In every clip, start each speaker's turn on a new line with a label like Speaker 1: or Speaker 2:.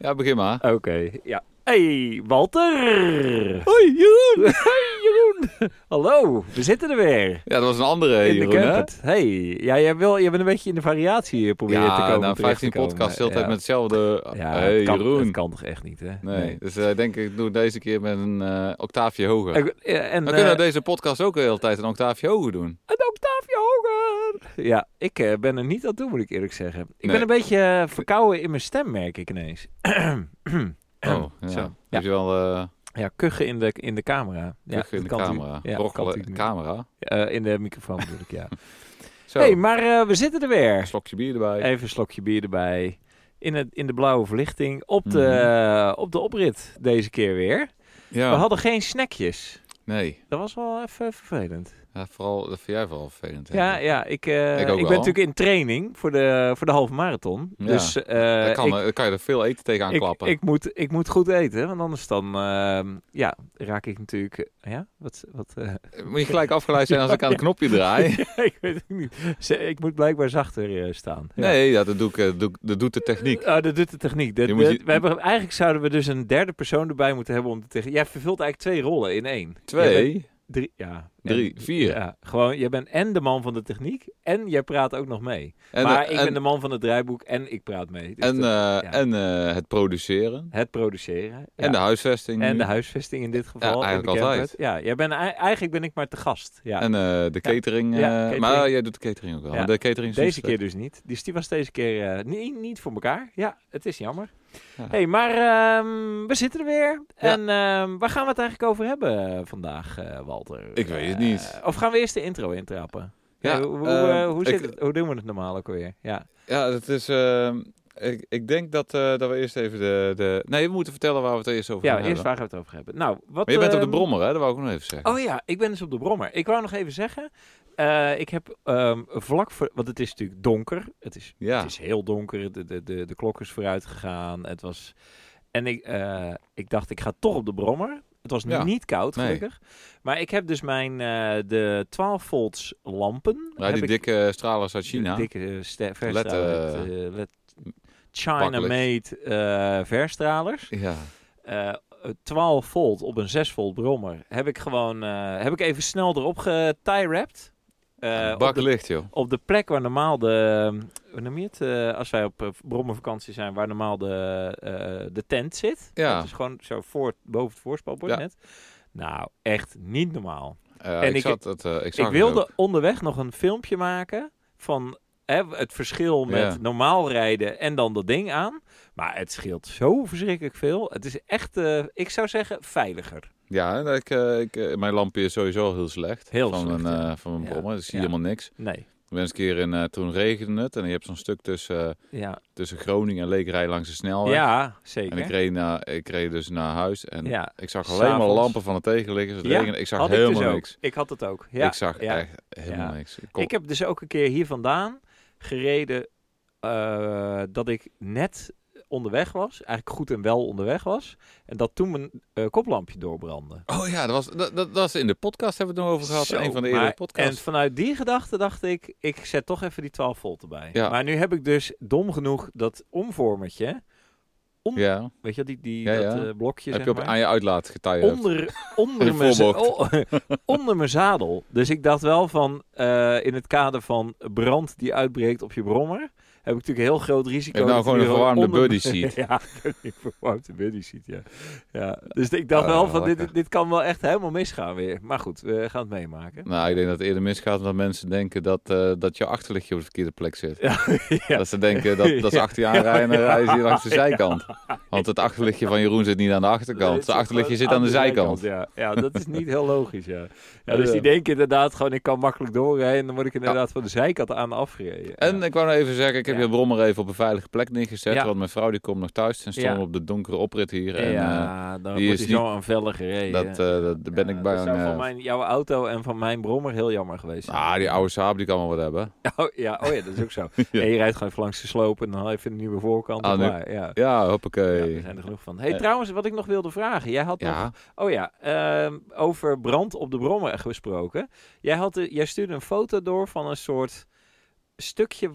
Speaker 1: Ja, begin maar.
Speaker 2: Oké, ja. Hey, Walter!
Speaker 1: Hoi, Jeroen!
Speaker 2: Hey, Jeroen! Hallo, we zitten er weer.
Speaker 1: Ja, dat was een andere
Speaker 2: In
Speaker 1: Jeroen,
Speaker 2: de
Speaker 1: hè?
Speaker 2: campet. Hey, ja, jij, wil, jij bent een beetje in de variatie eh, proberen te
Speaker 1: Ja,
Speaker 2: komen.
Speaker 1: na 15 nou, podcasts de hele tijd met hetzelfde.
Speaker 2: Ja,
Speaker 1: hey,
Speaker 2: het kan,
Speaker 1: Jeroen.
Speaker 2: het kan toch echt niet, hè?
Speaker 1: Nee, dus eh, ik denk ik doe het deze keer met een eh, octaafje hoger.
Speaker 2: En, eh, en,
Speaker 1: Dan kunnen
Speaker 2: eh,
Speaker 1: we deze podcast ook nou, de hele tijd een octaafje hoger doen.
Speaker 2: Een octaafje hoger! Ja, ik eh, ben er niet aan toe, moet ik eerlijk zeggen. Ik
Speaker 1: Nee.
Speaker 2: ben een beetje eh, verkouden in mijn stem, merk ik ineens.
Speaker 1: Oh, ja.
Speaker 2: zo,
Speaker 1: Heb je wel eh
Speaker 2: Ja, kuchen in de, in de camera. Ja,
Speaker 1: terug in
Speaker 2: dat
Speaker 1: de
Speaker 2: kan natuurlijk-
Speaker 1: camera.
Speaker 2: ja, dat kan
Speaker 1: Brokkelen,
Speaker 2: natuurlijk niet.
Speaker 1: camera.
Speaker 2: Eh, in de microfoon bedoel ik, ja.
Speaker 1: Zo,
Speaker 2: hey, maar eh, we zitten er
Speaker 1: een
Speaker 2: weer.
Speaker 1: slokje bier erbij.
Speaker 2: Even een slokje bier erbij. In, het, in de blauwe verlichting. Op de, op de oprit deze keer weer.
Speaker 1: Mhm. ja,
Speaker 2: We hadden geen snackjes.
Speaker 1: nee.
Speaker 2: Dat was wel even vervelend.
Speaker 1: Ja, vooral, dat vind jij vooral vervelend.
Speaker 2: Ja,
Speaker 1: hè?
Speaker 2: ja ik, eh,
Speaker 1: Ik
Speaker 2: ik,
Speaker 1: ook
Speaker 2: ben
Speaker 1: wel.
Speaker 2: natuurlijk in training voor de, voor de halve marathon.
Speaker 1: Ja,
Speaker 2: Dus eh,
Speaker 1: Dan kan,
Speaker 2: ik,
Speaker 1: er- dan kan je er veel eten tegenaan
Speaker 2: ik,
Speaker 1: klappen.
Speaker 2: ik, moet, ik moet goed eten, want anders dan ehm, ja, raak ik natuurlijk... Ja, wat... wat eh,
Speaker 1: Moet je gelijk afgeleid zijn als ik aan het
Speaker 2: Ja.
Speaker 1: knopje draai.
Speaker 2: ik weet het niet. Ze- Ik moet blijkbaar zachter eh, staan. Ja.
Speaker 1: Nee, ja, dat, doe ik, eh, doe, ik- dat doet de techniek.
Speaker 2: Oh, dat doet de techniek. Dat-
Speaker 1: Je moet je-
Speaker 2: dat- we hebben, eigenlijk zouden we dus een derde persoon erbij moeten hebben om te tegen. Jij vervult eigenlijk twee rollen in één. Jij bent
Speaker 1: Twee,
Speaker 2: drie. Ja.
Speaker 1: drie,
Speaker 2: En-
Speaker 1: vier.
Speaker 2: Ja, gewoon, jij bent en de man van de techniek en jij praat ook nog mee.
Speaker 1: En,
Speaker 2: maar
Speaker 1: eh,
Speaker 2: ik
Speaker 1: en,
Speaker 2: ben de man van het draaiboek en ik praat mee. Dus
Speaker 1: en,
Speaker 2: dat-
Speaker 1: eh, en eh, het produceren.
Speaker 2: het produceren. ja.
Speaker 1: En de huisvesting.
Speaker 2: En
Speaker 1: nu.
Speaker 2: de huisvesting in dit geval. in de
Speaker 1: eigenlijk
Speaker 2: camper.
Speaker 1: altijd.
Speaker 2: Ja, jij bent, ei- eigenlijk ben ik maar te gast. Ja.
Speaker 1: En eh, de
Speaker 2: Ja.
Speaker 1: catering. eh,
Speaker 2: Ja, catering.
Speaker 1: Maar jij doet de catering ook wel.
Speaker 2: Ja.
Speaker 1: De catering is
Speaker 2: Deze
Speaker 1: niet-
Speaker 2: keer dus niet. Dus die was deze keer eh, niet, niet voor elkaar. Ja, het is jammer.
Speaker 1: Ja.
Speaker 2: hey, maar ehm, we zitten er weer. En ehm, waar gaan we het eigenlijk over hebben eh, vandaag, eh, Walter?
Speaker 1: Ik weet het
Speaker 2: Eh,
Speaker 1: niet.
Speaker 2: of gaan we eerst de intro intrappen?
Speaker 1: Ja,
Speaker 2: Eh, hoe, hoe,
Speaker 1: ehm,
Speaker 2: eh, hoe zit
Speaker 1: ik-
Speaker 2: het? hoe doen we het normaal ook alweer? Ja.
Speaker 1: Ja, dat is. eh, ik, ik denk dat, eh, dat we eerst even de, de. Nee, we moeten vertellen waar we het eerst over
Speaker 2: ja,
Speaker 1: gaan
Speaker 2: eerst
Speaker 1: hebben.
Speaker 2: waar gaan we het over hebben? Nou, wat,
Speaker 1: Maar je bent op de
Speaker 2: ehm,
Speaker 1: brommer, hè? Dat wou ik ook nog even zeggen.
Speaker 2: Oh ja, ik ben dus op de brommer. Ik wou nog even zeggen, eh, ik heb ehm, vlak voor... Want het is natuurlijk donker. Het is
Speaker 1: ja.
Speaker 2: Het is heel donker, de, de, de, de klok is vooruit gegaan. Het was... En ik, eh, ik dacht, ik ga toch op de brommer. Het was
Speaker 1: Ja.
Speaker 2: niet koud,
Speaker 1: Nee.
Speaker 2: gelukkig. Maar ik heb dus mijn eh, de 12 volts lampen.
Speaker 1: Ja,
Speaker 2: heb
Speaker 1: die
Speaker 2: ik-
Speaker 1: dikke eh, stralers uit China.
Speaker 2: de dikke eh, ster- verstralers.
Speaker 1: LED,
Speaker 2: eh, LED China-made eh, verstralers.
Speaker 1: Ja.
Speaker 2: Eh, 12 volt op een 6 volt brommer. Heb ik gewoon eh, heb ik even snel erop getie-wrapped. Eh, op
Speaker 1: Bak
Speaker 2: de-
Speaker 1: licht, joh.
Speaker 2: op de plek waar normaal de. eh, Hoe noem je het? eh, als wij op eh, brommervakantie zijn, waar normaal de, eh, de tent zit.
Speaker 1: Ja.
Speaker 2: Dat is gewoon zo voor, boven het voorspelbord
Speaker 1: Ja.
Speaker 2: net. Nou, echt niet normaal.
Speaker 1: Eh,
Speaker 2: En
Speaker 1: ik,
Speaker 2: ik-
Speaker 1: zat, het, eh, ik, zag
Speaker 2: Ik
Speaker 1: het
Speaker 2: wilde
Speaker 1: ook.
Speaker 2: onderweg nog een filmpje maken van hè, het verschil met
Speaker 1: Ja.
Speaker 2: normaal rijden en dan dat ding aan. Maar het scheelt zo verschrikkelijk veel. Het is echt, eh, ik zou zeggen, veiliger.
Speaker 1: Ja, en ik, eh, ik, eh, mijn lampje is sowieso heel slecht.
Speaker 2: Heel
Speaker 1: van Een,
Speaker 2: slecht, ja.
Speaker 1: eh, van mijn
Speaker 2: Ja,
Speaker 1: brommer, dus zie
Speaker 2: ja.
Speaker 1: je helemaal niks.
Speaker 2: Nee.
Speaker 1: Ik ben eens een keer in, eh, toen regende het en je hebt zo'n stuk tussen, eh,
Speaker 2: Ja,
Speaker 1: tussen Groningen en Lekerij langs de snelweg.
Speaker 2: ja
Speaker 1: en
Speaker 2: zeker.
Speaker 1: ik reed, naar, ik reed dus naar huis en
Speaker 2: ja.
Speaker 1: ik zag alleen
Speaker 2: S'avonds.
Speaker 1: maar lampen van de tegenliggers. Het
Speaker 2: Ja,
Speaker 1: regende. Ik zag
Speaker 2: Had ik
Speaker 1: helemaal
Speaker 2: dus ook.
Speaker 1: niks.
Speaker 2: Ik had het ook. Ja.
Speaker 1: ik zag
Speaker 2: ja.
Speaker 1: echt helemaal
Speaker 2: Ja.
Speaker 1: niks. Ik kon-
Speaker 2: Ik heb dus ook een keer hier vandaan gereden eh, dat ik net onderweg was, eigenlijk goed en wel onderweg was, en dat toen mijn eh, koplampje doorbrandde.
Speaker 1: Oh ja, dat was, dat, dat was in de podcast hebben we het nog over gehad.
Speaker 2: Zo,
Speaker 1: een van de
Speaker 2: maar-
Speaker 1: eerdere podcasts.
Speaker 2: En vanuit die gedachte dacht ik, ik zet toch even die 12 volt erbij.
Speaker 1: Ja.
Speaker 2: Maar nu heb ik dus dom genoeg dat omvormertje,
Speaker 1: ja,
Speaker 2: weet je, die, die,
Speaker 1: Ja,
Speaker 2: dat
Speaker 1: ja.
Speaker 2: eh, blokje
Speaker 1: heb je
Speaker 2: zeg
Speaker 1: op,
Speaker 2: maar.
Speaker 1: aan je uitlaat getired.
Speaker 2: onder,
Speaker 1: In
Speaker 2: onder,
Speaker 1: de
Speaker 2: mijn, za-
Speaker 1: voorbocht.
Speaker 2: oh, onder mijn zadel. Dus ik dacht wel van, eh, in het kader van brand die uitbreekt op je brommer, heb ik natuurlijk een heel groot risico.
Speaker 1: Heb nou
Speaker 2: dat
Speaker 1: gewoon een
Speaker 2: hier
Speaker 1: verwarmde
Speaker 2: onder-
Speaker 1: buddy seat.
Speaker 2: ja, een verwarmde buddy seat, ja. ja. Dus ik dacht
Speaker 1: Ah,
Speaker 2: wel van,
Speaker 1: lekker.
Speaker 2: dit, dit kan wel echt helemaal misgaan weer. Maar goed, we gaan het meemaken.
Speaker 1: Nou, ik denk dat het eerder misgaat omdat mensen denken dat, eh, dat je achterlichtje op de verkeerde plek zit.
Speaker 2: Ja, ja.
Speaker 1: Dat ze denken dat, dat ze achter je aanrijden en dan rijden ze hier langs de zijkant. Want het achterlichtje van Jeroen zit niet aan de achterkant. Zijn achterlichtje
Speaker 2: eh,
Speaker 1: zit aan de zijkant.
Speaker 2: Ja. ja, dat is niet heel logisch, ja. ja
Speaker 1: Ja.
Speaker 2: dus die denken inderdaad gewoon, ik kan makkelijk doorrijden. En dan word ik inderdaad van de zijkant aan afgereden.
Speaker 1: En ik wou nog even zeggen, ik heb
Speaker 2: Ja.
Speaker 1: je brommer even op een veilige plek neergezet.
Speaker 2: Ja.
Speaker 1: Want mijn vrouw die komt nog thuis en stond
Speaker 2: Ja.
Speaker 1: op de donkere oprit hier. En eh,
Speaker 2: ja, dan
Speaker 1: die
Speaker 2: wordt
Speaker 1: is
Speaker 2: hij zo aan vellen gereden.
Speaker 1: dat, eh, dat daar ben
Speaker 2: Ja,
Speaker 1: ik
Speaker 2: Dat
Speaker 1: bang.
Speaker 2: zou van
Speaker 1: eh,
Speaker 2: mijn, jouw auto en van mijn brommer heel jammer geweest zijn.
Speaker 1: Ah, die oude Saab die kan wel wat hebben.
Speaker 2: Oh, ja, oh ja, dat is ook zo.
Speaker 1: Ja.
Speaker 2: En je rijdt gewoon even langs de sloop en dan haal je even een nieuwe voorkant.
Speaker 1: Ah,
Speaker 2: en
Speaker 1: nu-
Speaker 2: klaar, ja.
Speaker 1: Ja,
Speaker 2: Ja,
Speaker 1: hoppakee.
Speaker 2: er zijn er genoeg van. Hey,
Speaker 1: Eh.
Speaker 2: trouwens, wat ik nog wilde vragen. Jij had nog...
Speaker 1: Ja,
Speaker 2: Oh ja, ehm, over brand op de brommer gesproken. Jij, had, de- jij stuurde een foto door van een soort stukje...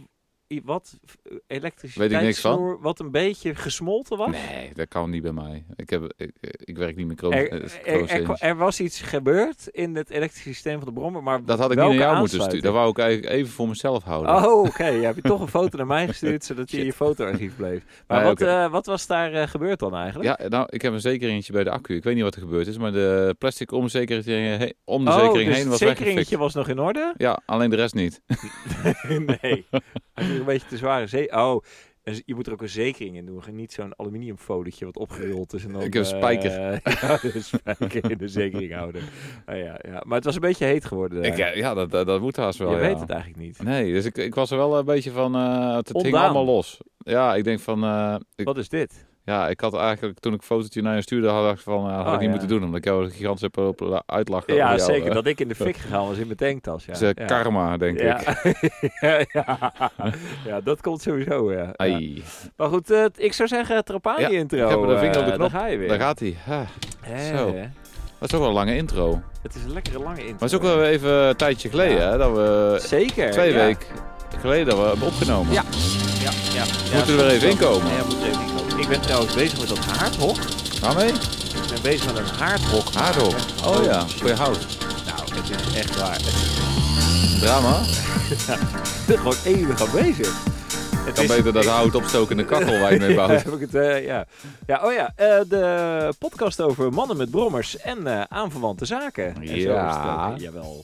Speaker 2: i- wat
Speaker 1: niks van.
Speaker 2: elektriciteitssnoer wat een beetje gesmolten was?
Speaker 1: Nee, dat kan niet bij mij. Ik, heb, ik, ik werk niet met kroon.
Speaker 2: Er,
Speaker 1: eh,
Speaker 2: er- er,
Speaker 1: kroonsteentjes.
Speaker 2: er- er was iets gebeurd in het elektrische systeem van de brommer, maar
Speaker 1: dat had ik niet
Speaker 2: welke
Speaker 1: aan jou moeten
Speaker 2: aansluiting?
Speaker 1: sturen. Dat wou ik eigenlijk even voor mezelf houden.
Speaker 2: Oh, oké. Je hebt toch een foto naar mij gestuurd, zodat je in je fotoarchief bleef. Maar
Speaker 1: Nee,
Speaker 2: wat,
Speaker 1: oké.
Speaker 2: eh, wat was daar eh, gebeurd dan eigenlijk?
Speaker 1: Ja, nou, ik heb een zekeringetje bij de accu. Ik weet niet wat er gebeurd is, maar de plastic om, de zekering heen- om de
Speaker 2: oh,
Speaker 1: zekering
Speaker 2: dus
Speaker 1: heen
Speaker 2: het
Speaker 1: was
Speaker 2: zekeringetje
Speaker 1: weggefikt.
Speaker 2: was nog in orde?
Speaker 1: Ja, alleen de rest niet.
Speaker 2: nee. Hij is een beetje te zware zee. Oh, en je moet er ook een zekering in doen. Niet zo'n aluminiumfolietje wat opgerold is. En dan,
Speaker 1: Ik heb
Speaker 2: eh,
Speaker 1: spijker.
Speaker 2: ja, de spijker in de zekering houden. Ah, ja, ja. Maar het was een beetje heet geworden. daar.
Speaker 1: Ik, eh, ja, dat, dat, dat moet haast
Speaker 2: je
Speaker 1: wel. ja.
Speaker 2: weet het eigenlijk niet.
Speaker 1: Nee, dus ik, ik was er wel een beetje van... eh, het hing
Speaker 2: Ontdaan.
Speaker 1: allemaal los. Ja, ik denk van... eh, ik,
Speaker 2: Wat is dit?
Speaker 1: ja, ik had eigenlijk... Toen ik een fotootje naar je stuurde, had ik van... eh, had
Speaker 2: Oh,
Speaker 1: ik niet
Speaker 2: ja.
Speaker 1: moeten doen, omdat ik jou gigantisch heb lopen uitlachen.
Speaker 2: ja,
Speaker 1: over jou,
Speaker 2: zeker.
Speaker 1: eh.
Speaker 2: Dat ik in de fik gegaan was in mijn tanktas. Ja.
Speaker 1: Het is eh,
Speaker 2: ja.
Speaker 1: karma, denk
Speaker 2: ja.
Speaker 1: ik.
Speaker 2: ja, ja. Ja, dat komt sowieso. Ja. Ja.
Speaker 1: Ai,
Speaker 2: Maar goed, eh, ik zou zeggen, Trapani
Speaker 1: Ja,
Speaker 2: intro.
Speaker 1: ik heb mijn
Speaker 2: eh,
Speaker 1: vinger op de
Speaker 2: Daar
Speaker 1: knop.
Speaker 2: ga je weer.
Speaker 1: daar gaat hij. Ha,
Speaker 2: Hè,
Speaker 1: Zo.
Speaker 2: hè.
Speaker 1: dat is toch wel een lange intro. Maar
Speaker 2: Het is een lekkere lange intro.
Speaker 1: het is ook wel even een tijdje geleden,
Speaker 2: Ja.
Speaker 1: hè, dat we...
Speaker 2: Zeker.
Speaker 1: Twee
Speaker 2: ja.
Speaker 1: weken geleden dat we hebben opgenomen.
Speaker 2: Ja. Ja, ja. ja,
Speaker 1: Moeten we er
Speaker 2: soms
Speaker 1: even in
Speaker 2: wel.
Speaker 1: komen?
Speaker 2: Ja, we moeten er even in komen. Ik ben trouwens bezig met dat haardhok.
Speaker 1: Ga mee?
Speaker 2: Ik ben bezig met een haardhok.
Speaker 1: Haardhok. Oh ja, voor je hout.
Speaker 2: Nou, het is echt waar. Het is
Speaker 1: Drama.
Speaker 2: gewoon eeuwig aan bezig. Het
Speaker 1: Dan
Speaker 2: is-
Speaker 1: beter dat
Speaker 2: ik-
Speaker 1: hout opstokende kachel waar je mee
Speaker 2: Ja,
Speaker 1: bouwt.
Speaker 2: heb ik het, eh, ja. ja, oh ja, eh, de podcast over mannen met brommers en eh, aanverwante zaken. En zo is het
Speaker 1: Ja.
Speaker 2: ook, jawel.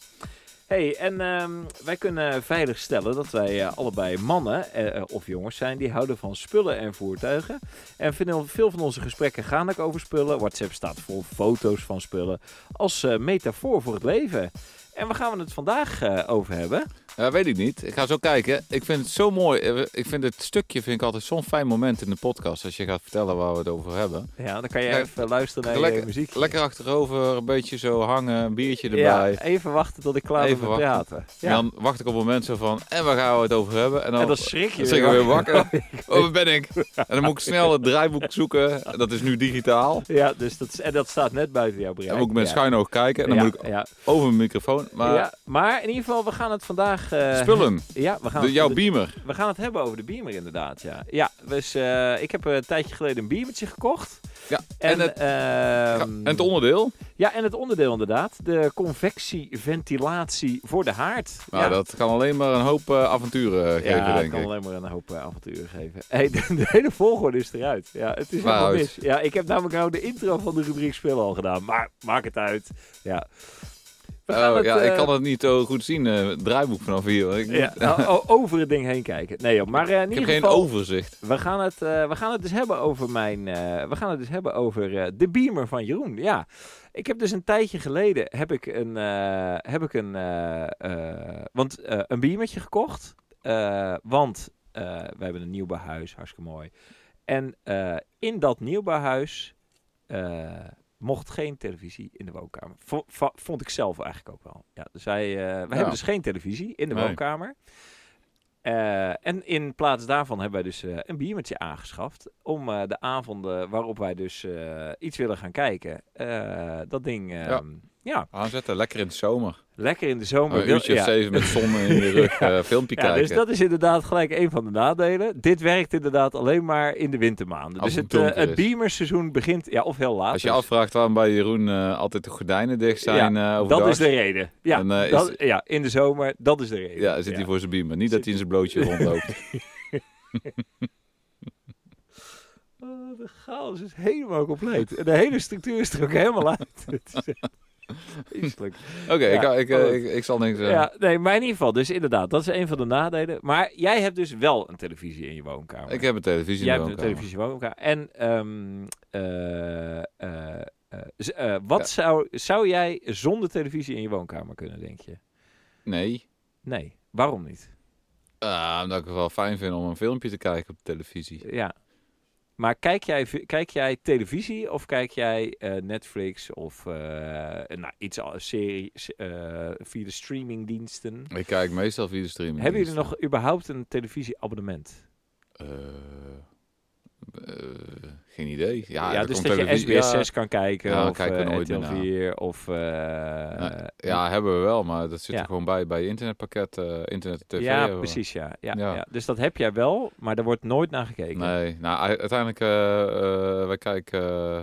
Speaker 2: hey, en ehm, wij kunnen veiligstellen dat wij eh, allebei mannen eh, eh, of jongens zijn die houden van spullen en voertuigen. En veel, veel van onze gesprekken gaan ook over spullen. WhatsApp staat vol foto's van spullen als eh, metafoor voor het leven. En waar gaan we het vandaag eh, over hebben?
Speaker 1: Ja, weet ik niet. Ik ga zo kijken. Ik vind het zo mooi. Eh, Ik vind het stukje vind ik altijd zo'n fijn moment in de podcast. Als je gaat vertellen waar we het over hebben.
Speaker 2: Ja, dan kan je
Speaker 1: Le-
Speaker 2: even luisteren naar je
Speaker 1: lekker-
Speaker 2: muziek.
Speaker 1: Lekker achterover, een beetje zo hangen, een biertje
Speaker 2: Ja,
Speaker 1: erbij.
Speaker 2: even wachten tot ik klaar ben
Speaker 1: Even
Speaker 2: met
Speaker 1: wachten.
Speaker 2: praten. Ja.
Speaker 1: En dan wacht ik op een moment zo van, en waar gaan we het over hebben? En dan,
Speaker 2: en dan schrik je
Speaker 1: Oh, dan schrik ik weer wakker.
Speaker 2: Ja,
Speaker 1: Oh, waar ben ik? En dan moet ik snel het draaiboek zoeken. Dat is nu digitaal.
Speaker 2: Ja, dus dat, is- en dat staat net buiten jouw bereik.
Speaker 1: Dan moet ik met
Speaker 2: ja.
Speaker 1: schuin oog kijken. En dan
Speaker 2: ja,
Speaker 1: moet ik
Speaker 2: ja.
Speaker 1: over mijn microfoon. Maar
Speaker 2: Ja, maar in ieder geval, we gaan het vandaag... eh,
Speaker 1: spullen,
Speaker 2: Ja, we gaan,
Speaker 1: de,
Speaker 2: het-
Speaker 1: jouw beamer.
Speaker 2: we gaan het hebben over de Beamer inderdaad, ja. Ja, dus eh, ik heb een tijdje geleden een Beamertje gekocht.
Speaker 1: Ja,
Speaker 2: En,
Speaker 1: en het-
Speaker 2: ehm,
Speaker 1: Ja, en het onderdeel?
Speaker 2: Ja, en het onderdeel inderdaad. De convectieventilatie voor de haard.
Speaker 1: Nou,
Speaker 2: ja.
Speaker 1: dat kan alleen maar een hoop eh, avonturen eh, geven,
Speaker 2: ja, het
Speaker 1: denk
Speaker 2: kan
Speaker 1: ik.
Speaker 2: alleen maar een hoop eh, avonturen geven. Hey, de, de hele volgorde is eruit. Ja, het is
Speaker 1: Maar
Speaker 2: helemaal
Speaker 1: uit.
Speaker 2: mis. Ja, ik heb namelijk nou de intro van de rubriek spullen al gedaan. Maar maak het uit. Ja. We gaan
Speaker 1: Oh,
Speaker 2: het,
Speaker 1: ja,
Speaker 2: eh,
Speaker 1: ik kan het niet zo goed zien, eh, het draaiboek vanaf hier. want Ik,
Speaker 2: ja, nou, o- over het ding heen kijken. Nee joh, maar eh, in
Speaker 1: ik
Speaker 2: ieder
Speaker 1: heb geen
Speaker 2: geval...
Speaker 1: overzicht.
Speaker 2: We gaan, het, eh, we gaan het dus hebben over mijn. eh, we gaan het dus hebben over eh, de beamer van Jeroen. Ja, ik heb dus een tijdje geleden heb ik een. eh, heb ik een eh, eh, want eh, een beamertje gekocht. Eh, want eh, we hebben een nieuwbouwhuis, hartstikke mooi. En eh, in dat nieuwbouwhuis eh, mocht geen televisie in de woonkamer. Vo- va- vond ik zelf eigenlijk ook wel. Ja, dus wij, eh, we hebben dus geen televisie in de
Speaker 1: Nee.
Speaker 2: woonkamer. Eh, en in plaats daarvan hebben wij dus eh, een biertje aangeschaft. Om eh, de avonden waarop wij dus eh, iets willen gaan kijken. eh, dat ding, eh, ja.
Speaker 1: Ja. Aanzetten, lekker in de zomer.
Speaker 2: lekker in de zomer.
Speaker 1: een
Speaker 2: wil-
Speaker 1: uurtje of
Speaker 2: ja.
Speaker 1: zeven met zon in je rug, eh, filmpje
Speaker 2: Ja,
Speaker 1: kijken.
Speaker 2: dus dat is inderdaad gelijk een van de nadelen. Dit werkt inderdaad alleen maar in de wintermaanden.
Speaker 1: Als
Speaker 2: dus
Speaker 1: het
Speaker 2: het, eh,
Speaker 1: donker
Speaker 2: het
Speaker 1: is.
Speaker 2: beamerseizoen begint, ja, of heel laat.
Speaker 1: Als je
Speaker 2: dus.
Speaker 1: afvraagt waarom bij Jeroen eh, altijd de gordijnen dicht zijn eh, overdag.
Speaker 2: Dat is de reden. Ja,
Speaker 1: Dan, eh, is-
Speaker 2: dat- ja, in de zomer, dat is de reden.
Speaker 1: Ja, zit hij voor zijn beamer. Niet dat hij in zijn blootje rondloopt.
Speaker 2: Oh, de chaos is helemaal compleet. En De hele structuur is er ook helemaal uit. Het is echt vreselijk.
Speaker 1: Oké, ik,
Speaker 2: Ja,
Speaker 1: ga- ik, eh,
Speaker 2: goed.
Speaker 1: ik, ik zal niks zeggen.
Speaker 2: Ja, nee, maar in ieder geval, dus inderdaad, dat is een van de nadelen. Maar jij hebt dus wel een televisie in je woonkamer.
Speaker 1: Ik heb een televisie
Speaker 2: jij
Speaker 1: in de
Speaker 2: hebt een
Speaker 1: woonkamer.
Speaker 2: televisie in je woonkamer. En ehm, eh, eh, eh, z- eh, wat
Speaker 1: Ja.
Speaker 2: zou, zou jij zonder televisie in je woonkamer kunnen, denk je?
Speaker 1: Nee.
Speaker 2: Nee, waarom niet?
Speaker 1: Ah, omdat ik het wel fijn vind om een filmpje te kijken op de televisie.
Speaker 2: Ja. Maar kijk jij, vi- kijk jij televisie of kijk jij eh, Netflix of eh, nou, iets als serie s- eh, via de streamingdiensten?
Speaker 1: Ik kijk meestal via de streaming.
Speaker 2: Hebben jullie nog überhaupt een televisieabonnement?
Speaker 1: Eh, eh, geen idee. Ja,
Speaker 2: Ja,
Speaker 1: er
Speaker 2: dus
Speaker 1: komt
Speaker 2: dat je SBS
Speaker 1: televisie- ja.
Speaker 2: 6 kan kijken.
Speaker 1: Ja,
Speaker 2: of
Speaker 1: kijken we
Speaker 2: eh,
Speaker 1: nooit
Speaker 2: RTL
Speaker 1: meer naar.
Speaker 2: 4. Of, eh,
Speaker 1: Nee, ja, hebben we wel, maar dat zit
Speaker 2: ja.
Speaker 1: er gewoon bij bij je internetpakket, eh internet en tv.
Speaker 2: ja,
Speaker 1: hebben we.
Speaker 2: precies. Ja. Ja, ja.
Speaker 1: Ja.
Speaker 2: Dus dat heb jij wel, maar daar wordt nooit naar gekeken.
Speaker 1: Nee, nou u- uiteindelijk, eh, eh, wij kijken eh,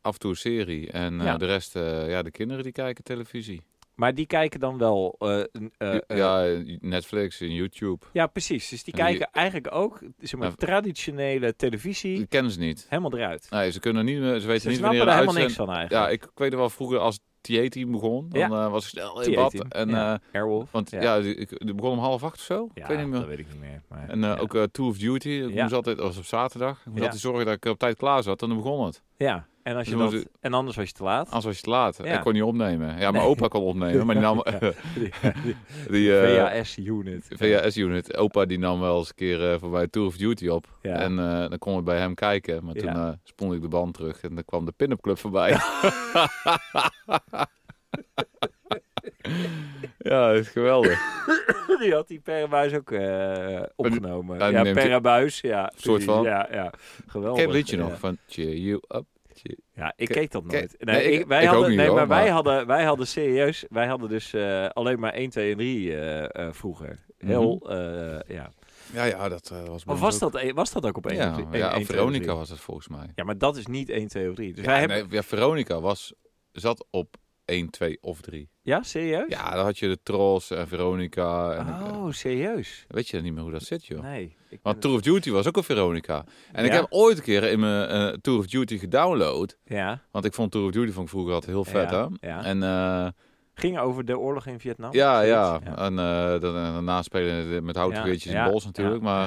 Speaker 1: af en toe een serie en eh,
Speaker 2: Ja.
Speaker 1: de rest, eh, ja, de kinderen die kijken televisie.
Speaker 2: Maar die kijken dan wel. eh, n- eh, eh, ja.
Speaker 1: ja, Netflix en YouTube.
Speaker 2: precies. Dus die
Speaker 1: En die-
Speaker 2: kijken eigenlijk ook zeg maar,
Speaker 1: Ja.
Speaker 2: traditionele televisie
Speaker 1: Die kennen ze niet.
Speaker 2: helemaal eruit.
Speaker 1: Nee, ze kunnen niet meer, ze weten
Speaker 2: Ze
Speaker 1: niet
Speaker 2: snappen
Speaker 1: wanneer
Speaker 2: er
Speaker 1: de
Speaker 2: helemaal
Speaker 1: uitzend-
Speaker 2: niks van
Speaker 1: Ja,
Speaker 2: eigenlijk.
Speaker 1: ik, ik weet nog wel vroeger als T-team begon, dan eh, was ik snel in bad.
Speaker 2: T18,
Speaker 1: En,
Speaker 2: ja.
Speaker 1: eh,
Speaker 2: Airwolf.
Speaker 1: want ja, die, ik, die begon om half acht of zo.
Speaker 2: Ja,
Speaker 1: ik weet niet meer.
Speaker 2: dat weet ik niet meer. Maar,
Speaker 1: En eh,
Speaker 2: ja.
Speaker 1: ook eh Tour of Duty, ik
Speaker 2: Ja.
Speaker 1: moest altijd, dat was op zaterdag, ik moest
Speaker 2: Ja.
Speaker 1: altijd zorgen dat ik op tijd klaar zat en dan begon het.
Speaker 2: Ja, en, als je
Speaker 1: Dus
Speaker 2: dat,
Speaker 1: we Ah.
Speaker 2: en anders was je te laat.
Speaker 1: Anders was je te laat.
Speaker 2: Ja.
Speaker 1: Ik kon niet opnemen. Ja, mijn opa kon opnemen, maar die nam...
Speaker 2: Die- die
Speaker 1: die, eh,
Speaker 2: VHS-unit.
Speaker 1: VHS-unit. Opa die nam wel eens een keer eh, voor mij Tour of Duty op.
Speaker 2: Ja.
Speaker 1: En eh, dan kon ik bij hem kijken. Maar toen
Speaker 2: Ja.
Speaker 1: eh spoelde ik de band terug en dan kwam de pin-up club voorbij. Ja, dat is geweldig.
Speaker 2: Die had die Perrabuis ook eh, opgenomen.
Speaker 1: Ja, die
Speaker 2: ja,
Speaker 1: neemt-
Speaker 2: Perrabuis. Ja, precies.
Speaker 1: van.
Speaker 2: Ja, ja.
Speaker 1: Ken
Speaker 2: Geweldig.
Speaker 1: je het liedje
Speaker 2: ja.
Speaker 1: nog van Cheer You Up?
Speaker 2: Ja, ik
Speaker 1: Ke-
Speaker 2: keek dat
Speaker 1: ke-
Speaker 2: nooit. Nee,
Speaker 1: nee,
Speaker 2: ik,
Speaker 1: ik-
Speaker 2: wij
Speaker 1: ik ook
Speaker 2: hadden,
Speaker 1: niet,
Speaker 2: nee,
Speaker 1: hoor,
Speaker 2: maar wij
Speaker 1: maar-
Speaker 2: hadden, wij hadden serieus, wij hadden dus eh, alleen maar 1, 2 en 3 eh, eh, vroeger. Heel, eh, ja.
Speaker 1: Ja, ja, dat eh, Mhm. was
Speaker 2: Of was dat, was dat ook op 1,
Speaker 1: Ja,
Speaker 2: 1,
Speaker 1: ja
Speaker 2: 1, 2
Speaker 1: Veronica
Speaker 2: 3?
Speaker 1: was het volgens mij.
Speaker 2: Ja, maar dat is niet 1, 2 of 3. Dus wij
Speaker 1: Ja,
Speaker 2: hebben,
Speaker 1: nee, ja, Veronica was, zat op 1, 2 of 3.
Speaker 2: ja, serieus?
Speaker 1: Ja, dan had je de Trolls en Veronica. En eh,
Speaker 2: Oh, serieus?
Speaker 1: weet je niet meer hoe dat zit, joh.
Speaker 2: Nee. ik ben-
Speaker 1: Want Tour of Duty was ook een Veronica. En ik
Speaker 2: Ja?
Speaker 1: heb ooit een keer in mijn eh, Tour of Duty gedownload.
Speaker 2: Ja,
Speaker 1: Want ik vond Tour of Duty vond ik vroeger altijd heel vet,
Speaker 2: Ja,
Speaker 1: hè?
Speaker 2: ja.
Speaker 1: En eh,
Speaker 2: ging over de oorlog in Vietnam?
Speaker 1: ja,
Speaker 2: Zoiets?
Speaker 1: ja. En eh, dan, en daarna spelen met houten geweertjes
Speaker 2: ja,
Speaker 1: in bos natuurlijk.
Speaker 2: ja,
Speaker 1: maar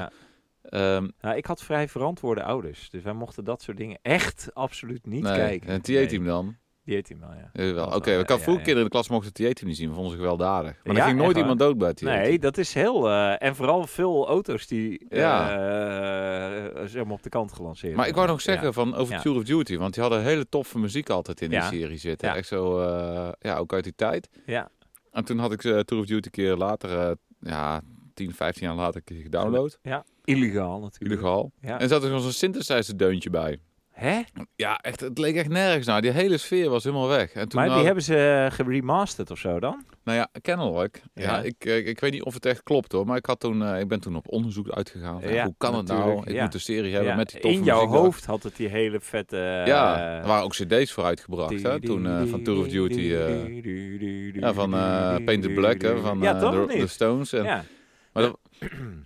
Speaker 2: ja.
Speaker 1: ehm,
Speaker 2: Nou, ik had vrij verantwoorde ouders. Dus wij mochten dat soort dingen echt absoluut niet
Speaker 1: nee.
Speaker 2: kijken.
Speaker 1: En
Speaker 2: Nee,
Speaker 1: T-team dan?
Speaker 2: T-team wel, ja.
Speaker 1: Eh, wel.
Speaker 2: Dat
Speaker 1: Oké,
Speaker 2: wel,
Speaker 1: we
Speaker 2: ja,
Speaker 1: kan
Speaker 2: ja,
Speaker 1: vroeger
Speaker 2: ja.
Speaker 1: kinderen in de klas mochten T-team niet zien. We vonden ze gewelddadig. Maar
Speaker 2: Ja,
Speaker 1: er ging nooit
Speaker 2: echt
Speaker 1: iemand dood bij T-team.
Speaker 2: Nee, dat is heel... eh, en vooral veel auto's die
Speaker 1: Ja.
Speaker 2: eh, eh, zeg maar op de kant gelanceerd
Speaker 1: Maar ik wou
Speaker 2: worden.
Speaker 1: nog zeggen
Speaker 2: Ja.
Speaker 1: van over
Speaker 2: Ja.
Speaker 1: Tour of Duty, want die hadden hele toffe muziek altijd in die
Speaker 2: Ja.
Speaker 1: serie zitten.
Speaker 2: Ja.
Speaker 1: Echt zo, eh, ja, ook uit die tijd.
Speaker 2: Ja.
Speaker 1: En toen had ik eh, Tour of Duty een keer later, eh, ja, 10, 15 jaar later een keer gedownload.
Speaker 2: Illegaal natuurlijk.
Speaker 1: Illegaal.
Speaker 2: Ja.
Speaker 1: En er zat er nog zo'n synthesizer deuntje bij.
Speaker 2: Hè?
Speaker 1: Ja, echt, het leek echt nergens naar. Die hele sfeer was helemaal weg. En toen
Speaker 2: Maar die
Speaker 1: had-
Speaker 2: hebben ze eh, geremasterd of zo dan?
Speaker 1: Nou ja, kennelijk. Ja.
Speaker 2: Ja.
Speaker 1: ik, eh, ik weet niet of het echt klopt hoor, maar ik, had toen, eh, ik ben toen op onderzoek uitgegaan. Van,
Speaker 2: Ja,
Speaker 1: hoe kan het nou?
Speaker 2: natuurlijk,
Speaker 1: Ik
Speaker 2: ja.
Speaker 1: moet de serie hebben
Speaker 2: Ja,
Speaker 1: met die toffe
Speaker 2: In jouw
Speaker 1: muziek daar.
Speaker 2: hoofd had het die hele vette... eh,
Speaker 1: Ja, er waren ook cd's voor uitgebracht hè,
Speaker 2: die-
Speaker 1: toen eh,
Speaker 2: die-
Speaker 1: van Tour of
Speaker 2: die-
Speaker 1: Duty. eh,
Speaker 2: die- die- die- die-
Speaker 1: Ja, van eh
Speaker 2: die-
Speaker 1: Paint the
Speaker 2: die-
Speaker 1: Black,
Speaker 2: die-
Speaker 1: hè, van
Speaker 2: Ja,
Speaker 1: eh,
Speaker 2: toch of
Speaker 1: de,
Speaker 2: niet?
Speaker 1: de Stones. En,
Speaker 2: Ja.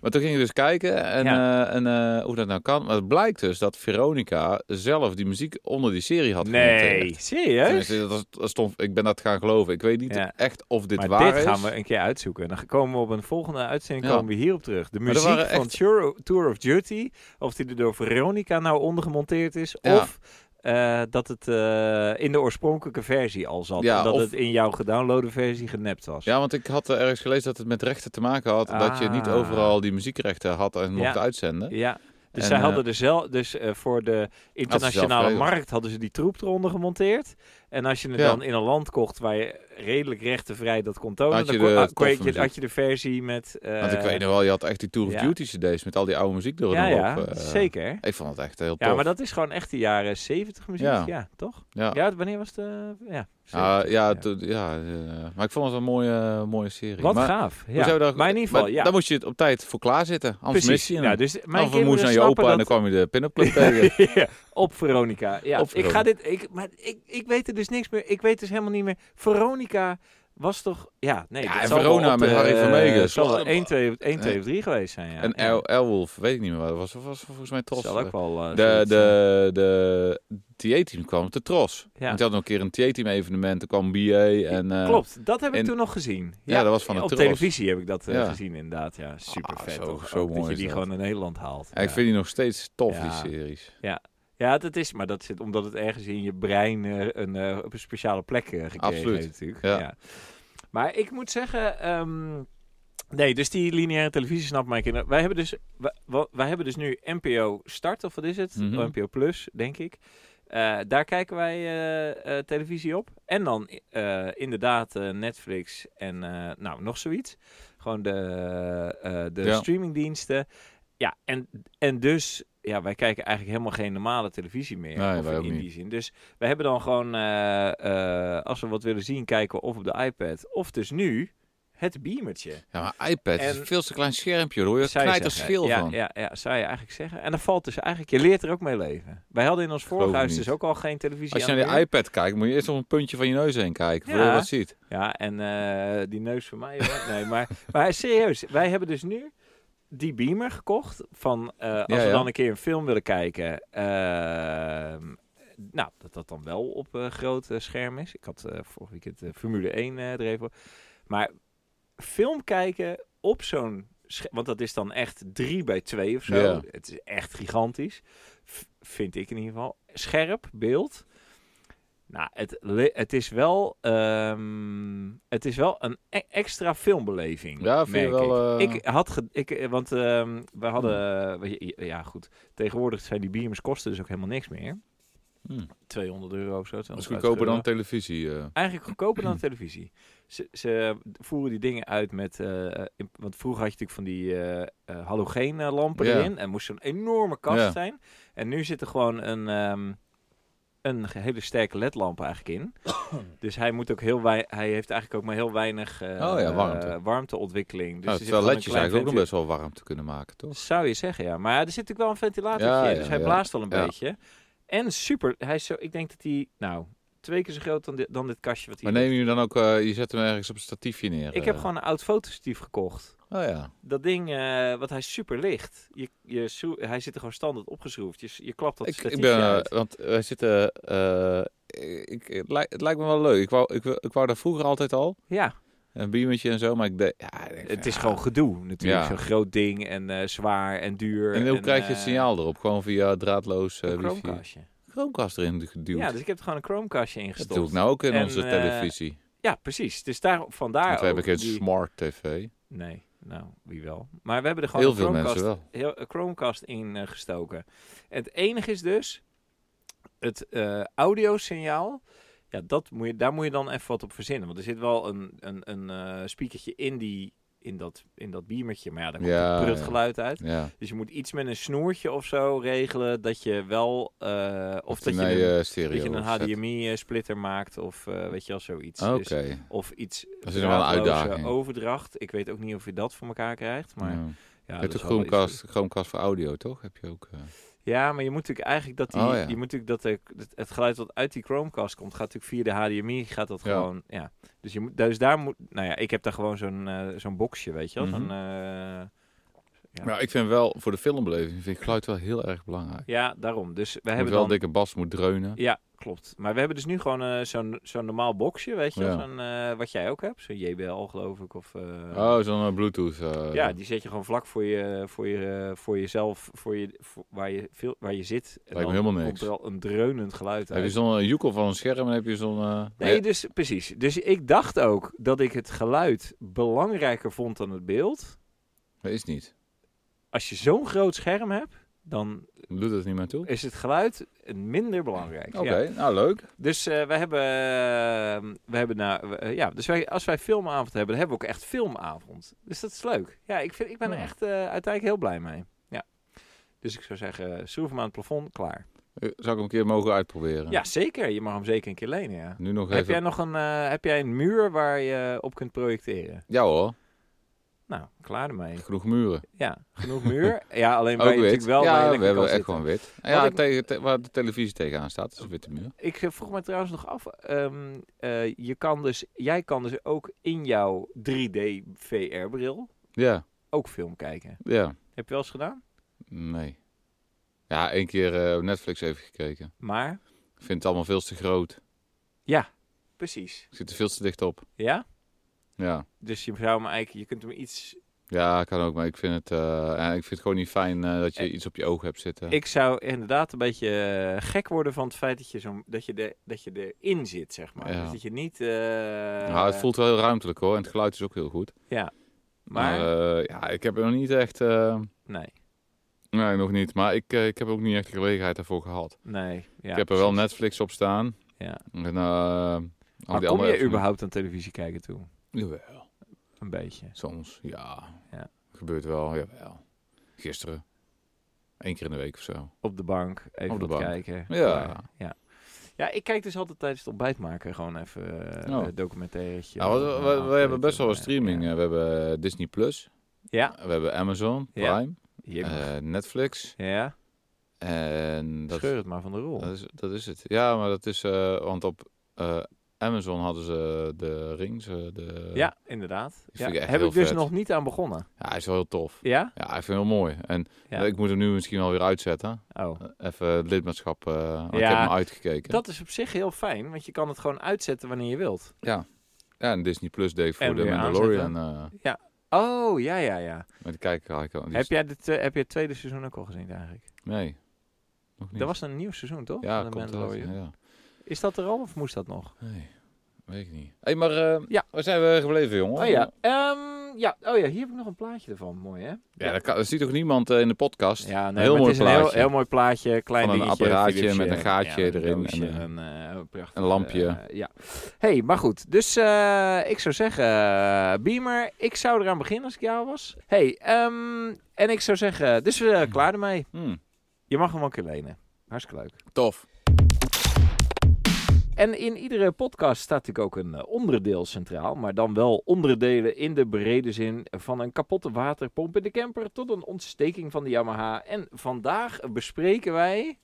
Speaker 1: Maar toen ging ik dus kijken en,
Speaker 2: Ja.
Speaker 1: eh, en eh, hoe dat nou kan. Maar het blijkt dus dat Veronica zelf die muziek onder die serie had
Speaker 2: Nee,
Speaker 1: gemonteerd.
Speaker 2: serieus?
Speaker 1: Tenminste, dat, dat stond, ik ben dat gaan geloven. Ik weet niet
Speaker 2: Ja.
Speaker 1: echt of dit
Speaker 2: maar
Speaker 1: waar
Speaker 2: dit
Speaker 1: is.
Speaker 2: gaan we een keer uitzoeken. Dan komen we op een volgende uitzending
Speaker 1: Ja.
Speaker 2: komen we hierop terug. De
Speaker 1: Maar er
Speaker 2: muziek
Speaker 1: waren
Speaker 2: van
Speaker 1: echt-
Speaker 2: Tour, Tour of Duty, of die er door Veronica nou ondergemonteerd is,
Speaker 1: Ja.
Speaker 2: of eh, dat het eh, in de oorspronkelijke versie al zat,
Speaker 1: Ja,
Speaker 2: en dat
Speaker 1: of-
Speaker 2: het in jouw gedownloade versie genept was.
Speaker 1: Ja, want ik had eh, ergens gelezen dat het met rechten te maken had. Dat je niet
Speaker 2: Ah.
Speaker 1: overal die muziekrechten had en mocht
Speaker 2: Ja.
Speaker 1: uitzenden.
Speaker 2: Ja. Dus
Speaker 1: En,
Speaker 2: zij
Speaker 1: eh,
Speaker 2: hadden er zelf, dus eh, voor de internationale
Speaker 1: geregeld.
Speaker 2: markt hadden ze die troep eronder gemonteerd. En als je het
Speaker 1: Ja.
Speaker 2: dan in een land kocht waar je redelijk rechtenvrij dat kon tonen,
Speaker 1: Had je
Speaker 2: dan kon-
Speaker 1: de
Speaker 2: ah, kon je-
Speaker 1: toffe muziek.
Speaker 2: had je de versie met. eh,
Speaker 1: Want ik weet nog wel, je had echt die Tour of
Speaker 2: ja.
Speaker 1: Duty cd's met al die oude muziek door
Speaker 2: ja,
Speaker 1: en
Speaker 2: ja,
Speaker 1: op. eh.
Speaker 2: zeker.
Speaker 1: Ik vond het echt heel tof.
Speaker 2: Ja, maar dat is gewoon echt de jaren 70 muziek. Ja,
Speaker 1: Ja.
Speaker 2: toch?
Speaker 1: Ja.
Speaker 2: Ja, wanneer was de. Ja, 70,
Speaker 1: Ah, ja, toen- ja, eh, maar ik vond het een mooie, eh, mooie serie.
Speaker 2: Wat
Speaker 1: maar,
Speaker 2: gaaf.
Speaker 1: hoe
Speaker 2: Ja.
Speaker 1: zou je daar-
Speaker 2: Maar in ieder
Speaker 1: maar
Speaker 2: geval, ja.
Speaker 1: Dan moest je het op tijd voor klaarzitten. Anders mis
Speaker 2: Precies.
Speaker 1: je hem.
Speaker 2: Ja, dus mijn
Speaker 1: dan vermoest
Speaker 2: kinderen
Speaker 1: je aan je opa
Speaker 2: snappen
Speaker 1: en dan
Speaker 2: dat-
Speaker 1: kwam je de pin-up club tegen.
Speaker 2: Ja, op Veronica. Ja,
Speaker 1: Op
Speaker 2: ik ga dit. Ik, maar ik, ik weet er dus niks meer. Ik weet dus helemaal niet meer. Veronica was toch. Ja, nee.
Speaker 1: Ja,
Speaker 2: dat
Speaker 1: en
Speaker 2: zal wel
Speaker 1: Verona
Speaker 2: op de-
Speaker 1: met Harry Vermegen.
Speaker 2: Het zal wel
Speaker 1: Slalom.
Speaker 2: 1, 2, 1,
Speaker 1: Ja.
Speaker 2: 2 of 3 geweest zijn. Ja.
Speaker 1: En
Speaker 2: ja.
Speaker 1: El- Elwolf, weet ik niet meer wat. Dat was, was volgens mij Tros.
Speaker 2: zal ook wel. eh,
Speaker 1: De,
Speaker 2: zoiets zijn.
Speaker 1: de, de TA-team kwam, de Tros.
Speaker 2: Ja.
Speaker 1: Want die hadden nog een keer een TA-team evenement. Er kwam BA en... eh,
Speaker 2: Klopt, dat heb ik
Speaker 1: en-
Speaker 2: toen nog gezien.
Speaker 1: Ja, dat was van de
Speaker 2: Op
Speaker 1: Tros.
Speaker 2: televisie heb ik dat eh,
Speaker 1: Ja. Ah,
Speaker 2: gezien, inderdaad. Ja, super vet.
Speaker 1: zo-
Speaker 2: toch?
Speaker 1: zo
Speaker 2: Ook dat
Speaker 1: mooi
Speaker 2: je
Speaker 1: is
Speaker 2: die
Speaker 1: dat.
Speaker 2: gewoon naar Nederland haalt.
Speaker 1: ja, Ik
Speaker 2: Ja.
Speaker 1: vind die nog steeds tof,
Speaker 2: Ja.
Speaker 1: die series.
Speaker 2: Ja, dat is, maar dat zit omdat het ergens in je brein eh, een, eh, op een speciale plek eh, gekregen
Speaker 1: Absoluut,
Speaker 2: heeft natuurlijk. Ja.
Speaker 1: ja.
Speaker 2: Maar ik moet zeggen, ehm, nee, dus die lineaire televisie snapt mijn kinderen. Wij hebben dus, wa- wa- wij hebben dus nu NPO Start, of wat is het?
Speaker 1: Mhm.
Speaker 2: NPO Plus, denk ik. Eh, daar kijken wij eh, eh, televisie op. En dan eh, inderdaad eh, Netflix en eh, nou, nog zoiets. Gewoon de, eh, de
Speaker 1: Ja.
Speaker 2: streamingdiensten. Ja, en, en dus ja, wij kijken eigenlijk helemaal geen normale televisie meer.
Speaker 1: Nee,
Speaker 2: of
Speaker 1: wij
Speaker 2: in
Speaker 1: ook
Speaker 2: die
Speaker 1: niet.
Speaker 2: zin. Dus we hebben dan gewoon, eh, eh, als we wat willen zien, kijken we of op de iPad. Of dus nu, het beamertje.
Speaker 1: Ja, maar iPad is
Speaker 2: En-
Speaker 1: een veel te klein schermpje, hoor. Je
Speaker 2: Zou je
Speaker 1: knijt er
Speaker 2: zeggen.
Speaker 1: schil
Speaker 2: ja,
Speaker 1: van.
Speaker 2: Ja, ja, zou je eigenlijk zeggen. En dan valt dus eigenlijk, je leert er ook mee leven. Wij hadden in ons vorig
Speaker 1: geloof het
Speaker 2: huis dus
Speaker 1: niet.
Speaker 2: ook al geen televisie.
Speaker 1: Als je
Speaker 2: aan
Speaker 1: naar
Speaker 2: de
Speaker 1: die iPad kijkt, moet je eerst op een puntje van je neus heen kijken. Voor
Speaker 2: Ja.
Speaker 1: je wat ziet.
Speaker 2: muur. Ja, en eh, die neus van mij. hoor. Nee, maar, maar serieus, wij hebben dus nu die beamer gekocht. Van eh, als
Speaker 1: Ja,
Speaker 2: we
Speaker 1: ja.
Speaker 2: dan een keer een film willen kijken. ehm, nou, dat dat dan wel op eh, groot eh, scherm is. Ik had eh vorig weekend eh, Formule 1 eh er even. Maar film kijken op zo'n scherm. Want dat is dan echt 3 bij 2 of zo.
Speaker 1: Ja.
Speaker 2: Het is echt gigantisch. V- vind ik in ieder geval. Scherp beeld. Nou, het, le- het, is wel, ehm, het is wel een e- extra filmbeleving.
Speaker 1: Ja, vind je
Speaker 2: merk
Speaker 1: wel,
Speaker 2: Ik.
Speaker 1: eh,
Speaker 2: ik had, ge- ik, eh, want ehm, we hadden, eh, weet je, ja goed, tegenwoordig zijn die beamers kosten dus ook helemaal niks meer.
Speaker 1: Hm.
Speaker 2: 200 euro of zo.
Speaker 1: Dat is
Speaker 2: 250
Speaker 1: goedkoper
Speaker 2: euro
Speaker 1: dan televisie.
Speaker 2: Dus
Speaker 1: eh.
Speaker 2: eigenlijk goedkoper dan televisie. Ze, ze voeren die dingen uit met... eh, in- want vroeger had je natuurlijk van die eh, halogeenlampen
Speaker 1: Ja.
Speaker 2: erin. En moest zo'n enorme kast
Speaker 1: Ja.
Speaker 2: zijn. En nu zit er gewoon een, ehm, een ge- hele sterke ledlamp eigenlijk in. dus hij, moet ook heel wei- hij heeft eigenlijk ook maar heel weinig eh,
Speaker 1: Oh ja, warmte.
Speaker 2: eh, warmteontwikkeling. Dus
Speaker 1: nou,
Speaker 2: er zit
Speaker 1: terwijl
Speaker 2: gewoon een
Speaker 1: ledjes
Speaker 2: klein
Speaker 1: eigenlijk ook nog
Speaker 2: ventil-
Speaker 1: best wel warm te kunnen maken, toch?
Speaker 2: zou je zeggen, ja. Maar er zit natuurlijk wel een ventilatortje
Speaker 1: Ja,
Speaker 2: in,
Speaker 1: ja,
Speaker 2: dus hij
Speaker 1: ja.
Speaker 2: blaast al een
Speaker 1: Ja.
Speaker 2: beetje. En super, hij is zo, ik denk dat hij, nou, twee keer zo groot dan dit, dan dit kastje wat hij
Speaker 1: Maar neem je hem dan ook, eh, je zet hem ergens op een statiefje neer.
Speaker 2: ik
Speaker 1: eh.
Speaker 2: heb gewoon een oud fotostatief gekocht.
Speaker 1: Oh ja.
Speaker 2: Dat ding, eh wat hij is super licht. Je, je, schroe- hij zit er gewoon standaard opgeschroefd. Je, s- je klapt dat
Speaker 1: Ik,
Speaker 2: statiefje
Speaker 1: ik ben, eh,
Speaker 2: uit.
Speaker 1: want wij zitten, eh, ik, het, lijkt, het lijkt me wel leuk. Ik wou, ik, wil- ik wou daar vroeger altijd al,
Speaker 2: Ja,
Speaker 1: een beamertje en zo, maar ik deed, ja, ik denk,
Speaker 2: het is
Speaker 1: ja.
Speaker 2: gewoon gedoe natuurlijk.
Speaker 1: Ja.
Speaker 2: Zo'n groot ding en eh, zwaar en duur.
Speaker 1: En hoe
Speaker 2: en,
Speaker 1: krijg je het
Speaker 2: eh,
Speaker 1: signaal erop? Gewoon via draadloos eh
Speaker 2: Een
Speaker 1: wifi?
Speaker 2: Chromecastje.
Speaker 1: Chromecast erin geduwd.
Speaker 2: Ja, dus ik heb er gewoon een Chromecastje
Speaker 1: dat
Speaker 2: ingestopt.
Speaker 1: doe ik nou ook in
Speaker 2: En,
Speaker 1: onze
Speaker 2: eh,
Speaker 1: televisie.
Speaker 2: Ja, precies. Dus daar, vandaar
Speaker 1: Want we hebben
Speaker 2: ook
Speaker 1: geen
Speaker 2: die-
Speaker 1: smart tv.
Speaker 2: Nee, nou, wie wel. Maar we hebben er gewoon
Speaker 1: Heel
Speaker 2: een
Speaker 1: veel
Speaker 2: Chromecast,
Speaker 1: mensen wel.
Speaker 2: heel, een Chromecast in eh, gestoken. En het enige is dus, het eh audiosignaal, ja, dat moet je, daar moet je dan even wat op verzinnen. Want er zit wel een, een, een eh, speakertje in, die, in, dat, in dat beamertje, maar ja, daar komt
Speaker 1: Ja,
Speaker 2: een prut
Speaker 1: ja.
Speaker 2: geluid uit.
Speaker 1: Ja.
Speaker 2: Dus je moet iets met een snoertje of zo regelen, dat je wel, eh, of dat je,
Speaker 1: nee,
Speaker 2: een,
Speaker 1: eh,
Speaker 2: dat
Speaker 1: stereo.
Speaker 2: je een
Speaker 1: opzet. Ah,
Speaker 2: HDMI-splitter maakt, of eh, weet je wel, zoiets.
Speaker 1: Oké.
Speaker 2: Dus- of iets
Speaker 1: Dat is wel een
Speaker 2: draadloze
Speaker 1: uitdaging.
Speaker 2: overdracht. Ik weet ook niet of je dat voor elkaar krijgt, maar
Speaker 1: Ja.
Speaker 2: ja,
Speaker 1: je
Speaker 2: dat
Speaker 1: hebt Mm. de
Speaker 2: zal wel iets
Speaker 1: Chromecast, Chromecast voor audio, toch? Heb je ook... eh,
Speaker 2: doen. Ja, maar je moet natuurlijk eigenlijk dat die,
Speaker 1: Oh, ja.
Speaker 2: je moet natuurlijk dat de, dat het geluid wat uit die Chromecast komt, gaat natuurlijk via de HDMI, gaat dat
Speaker 1: Ja.
Speaker 2: gewoon, ja. Dus je moet, dus daar moet, nou ja, ik heb daar gewoon zo'n eh, zo'n boxje, weet je wel,
Speaker 1: Mhm.
Speaker 2: zo'n, eh, Ja.
Speaker 1: Maar ik vind wel, voor de filmbeleving, vind ik geluid wel heel erg belangrijk.
Speaker 2: ja, daarom. Dus we
Speaker 1: Je moet
Speaker 2: hebben
Speaker 1: wel
Speaker 2: dan,
Speaker 1: dikke bas, moet dreunen.
Speaker 2: ja, klopt. Maar we hebben dus nu gewoon eh, zo'n zo'n normaal boxje, weet je, wel,
Speaker 1: Ja.
Speaker 2: zo'n eh, wat jij ook hebt, zo'n JBL geloof ik, of eh,
Speaker 1: Oh, zo'n eh, bluetooth. eh,
Speaker 2: Ja, die zet je gewoon vlak voor, je, voor, je, eh, voor jezelf, voor je, voor- waar, je veel, waar je zit. En
Speaker 1: Lijkt me
Speaker 2: dan
Speaker 1: helemaal
Speaker 2: komt
Speaker 1: niks.
Speaker 2: er al een dreunend geluid
Speaker 1: Heb je
Speaker 2: uit.
Speaker 1: zo'n eh, joekel van een scherm en heb je zo'n... eh,
Speaker 2: Nee, dus precies. Dus ik dacht ook dat ik het geluid belangrijker vond dan het beeld.
Speaker 1: Dat is niet.
Speaker 2: Als je zo'n groot scherm hebt, dan
Speaker 1: Doet het niet meer toe?
Speaker 2: is het geluid minder belangrijk.
Speaker 1: Oké,
Speaker 2: Ja.
Speaker 1: nou leuk.
Speaker 2: Dus eh, we hebben, eh, we hebben nou, we- eh, ja, dus wij, als wij filmavond hebben, dan hebben we ook echt filmavond. Dus dat is leuk. Ja, ik, vind, ik ben er
Speaker 1: Ja.
Speaker 2: echt eh, uiteindelijk heel blij mee. Ja. Dus ik zou zeggen, schroef hem aan het plafond, klaar.
Speaker 1: Eh, Zou ik hem een keer mogen uitproberen?
Speaker 2: Ja, zeker. Je mag hem zeker een keer lenen, ja.
Speaker 1: Nu nog
Speaker 2: Heb
Speaker 1: even...
Speaker 2: jij nog een, eh, heb jij een muur waar je op kunt projecteren?
Speaker 1: Ja hoor,
Speaker 2: Nou, klaar ermee.
Speaker 1: genoeg muren.
Speaker 2: Ja, genoeg muur. Ja, alleen waar
Speaker 1: Ook
Speaker 2: je
Speaker 1: wit.
Speaker 2: natuurlijk wel waar je
Speaker 1: ja,
Speaker 2: lekker
Speaker 1: we hebben
Speaker 2: kan
Speaker 1: echt
Speaker 2: zitten.
Speaker 1: gewoon wit. En ja,
Speaker 2: ik-
Speaker 1: tegen, te- waar de televisie tegenaan staat, is een witte muur.
Speaker 2: Ik eh, vroeg me trouwens nog af, ehm, eh, je kan dus, jij kan dus ook in jouw 3D VR-bril
Speaker 1: Ja,
Speaker 2: ook film kijken.
Speaker 1: ja.
Speaker 2: Heb je wel eens gedaan?
Speaker 1: Nee. Ja, één keer eh, op Netflix even gekeken.
Speaker 2: Maar,
Speaker 1: Ik vind het allemaal veel te groot.
Speaker 2: precies.
Speaker 1: Ik zit er veel te dicht op.
Speaker 2: Ja?
Speaker 1: Ja.
Speaker 2: Dus je zou hem eigenlijk, je kunt hem iets...
Speaker 1: Ja, kan ook, maar ik vind het, eh, ja, ik vind het gewoon niet fijn eh, dat je iets op je ogen hebt zitten.
Speaker 2: Ik zou inderdaad een beetje eh, gek worden van het feit dat je, zo'n dat je, de, dat je erin zit, zeg maar.
Speaker 1: Ja.
Speaker 2: Dus dat je niet... eh,
Speaker 1: Ja, Nou, het voelt wel heel ruimtelijk hoor. En het geluid is ook heel goed.
Speaker 2: Maar,
Speaker 1: Maar eh, ja, ik heb er nog niet echt. eh,
Speaker 2: nee,
Speaker 1: nee, nog niet. Maar ik, eh, ik heb ook niet echt de gelegenheid daarvoor gehad.
Speaker 2: nee. Ja,
Speaker 1: ik heb er wel Netflix op staan.
Speaker 2: Ja.
Speaker 1: En, eh, al
Speaker 2: Maar
Speaker 1: die
Speaker 2: kom
Speaker 1: andere
Speaker 2: je
Speaker 1: apps
Speaker 2: überhaupt aan televisie kijken toe?
Speaker 1: niet. Jawel.
Speaker 2: Een beetje.
Speaker 1: Soms, ja.
Speaker 2: Ja.
Speaker 1: Gebeurt wel, jawel. Gisteren. Eén keer in de week of zo.
Speaker 2: Op de bank, even
Speaker 1: Op de
Speaker 2: wat
Speaker 1: bank.
Speaker 2: kijken.
Speaker 1: Ja.
Speaker 2: ja. Ja, ik kijk dus altijd tijdens het ontbijt maken gewoon even eh,
Speaker 1: Oh.
Speaker 2: een documentairetje.
Speaker 1: Nou, we, we- we hebben best wel wat streaming.
Speaker 2: Ja,
Speaker 1: Eh, We hebben Disney Plus,
Speaker 2: ja.
Speaker 1: we hebben Amazon
Speaker 2: Ja.
Speaker 1: Prime,
Speaker 2: Jim.
Speaker 1: eh, Netflix
Speaker 2: ja.
Speaker 1: en dat,
Speaker 2: scheur het maar van de rol.
Speaker 1: dat, is, dat is het. Ja, maar dat is eh, want op eh, Amazon hadden ze de rings, eh, de
Speaker 2: ja, inderdaad. Ja.
Speaker 1: vind ik echt
Speaker 2: Heb
Speaker 1: heel
Speaker 2: ik dus
Speaker 1: vet.
Speaker 2: nog niet aan begonnen.
Speaker 1: Ja, hij is wel heel tof.
Speaker 2: Ja?
Speaker 1: Ja, ik vind hem heel mooi. En
Speaker 2: Ja.
Speaker 1: eh, ik moet hem nu misschien alweer uitzetten.
Speaker 2: Oh.
Speaker 1: Even het lidmaatschap. eh, want Ik
Speaker 2: Ja.
Speaker 1: heb hem uitgekeken.
Speaker 2: Dat is op zich heel fijn, want je kan het gewoon uitzetten wanneer je wilt.
Speaker 1: Ja, en Disney Plus deed ik voor
Speaker 2: En
Speaker 1: de
Speaker 2: weer
Speaker 1: Mandalorian. eh
Speaker 2: Oh, ja, ja, ja.
Speaker 1: met de kijker eigenlijk al. Die
Speaker 2: Heb
Speaker 1: is-
Speaker 2: jij, de, heb je het tweede seizoen ook al gezien eigenlijk?
Speaker 1: Nee. Nog niet.
Speaker 2: Dat was een nieuw seizoen, toch?
Speaker 1: ja,
Speaker 2: Van de
Speaker 1: komt eruit,
Speaker 2: Mandalorian.
Speaker 1: Ja.
Speaker 2: Is dat er al of moest dat nog?
Speaker 1: Nee, weet ik niet. Hé, hey, maar eh,
Speaker 2: Ja.
Speaker 1: waar zijn we gebleven, jongen?
Speaker 2: Oh ja, ehm, ja. Oh ja, hier heb ik nog een plaatje ervan. Mooi, hè?
Speaker 1: Ja, dat, kan, dat ziet toch niemand eh, in de podcast?
Speaker 2: Ja, nee,
Speaker 1: heel
Speaker 2: maar
Speaker 1: mooi
Speaker 2: het is een heel,
Speaker 1: plaatje.
Speaker 2: heel mooi plaatje. Klein
Speaker 1: Van een
Speaker 2: dingetje,
Speaker 1: apparaatje
Speaker 2: Philipsje.
Speaker 1: met een gaatje
Speaker 2: Ja, een
Speaker 1: erin en
Speaker 2: doosje
Speaker 1: een-
Speaker 2: en, eh, een prachtig,
Speaker 1: een lampje.
Speaker 2: eh, ja. hey, maar goed. Dus eh, ik zou zeggen, eh, Beamer, ik zou eraan beginnen als ik jou was. hey, ehm, en ik zou zeggen, dus we zijn klaar ermee.
Speaker 1: Hm,
Speaker 2: Je mag hem ook weer lenen. Hartstikke leuk.
Speaker 1: tof.
Speaker 2: En in iedere podcast staat natuurlijk ook een eh, onderdeel centraal, maar dan wel onderdelen in de brede zin van een kapotte waterpomp in de camper tot een ontsteking van de Yamaha. En vandaag bespreken wij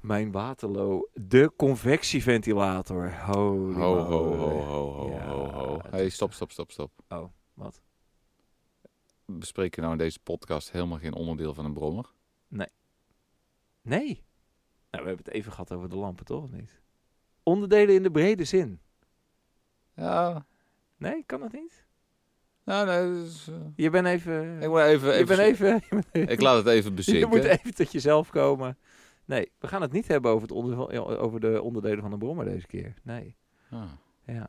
Speaker 2: mijn Waterloo, de convectieventilator. Holy
Speaker 1: Ho, ho,
Speaker 2: moly.
Speaker 1: ho, ho, ho,
Speaker 2: Ja,
Speaker 1: ho, ho.
Speaker 2: het
Speaker 1: hey,
Speaker 2: is-
Speaker 1: stop, stop, stop, stop.
Speaker 2: Oh, wat?
Speaker 1: We Bespreken nou in deze podcast helemaal geen onderdeel van een brommer?
Speaker 2: Nee. Nou, we hebben het even gehad over de lampen, toch? Of niet? Onderdelen in de brede zin.
Speaker 1: Ja,
Speaker 2: Nee, kan dat niet?
Speaker 1: nou nee. dat is, eh,
Speaker 2: Je bent even...
Speaker 1: ik moet even...
Speaker 2: je
Speaker 1: even,
Speaker 2: bent even...
Speaker 1: Ik laat het even
Speaker 2: Je
Speaker 1: bezinken.
Speaker 2: moet even tot jezelf komen. Nee, we gaan het niet hebben over, het onder, over de onderdelen van de brommer deze keer. Nee,
Speaker 1: Ah.
Speaker 2: ja.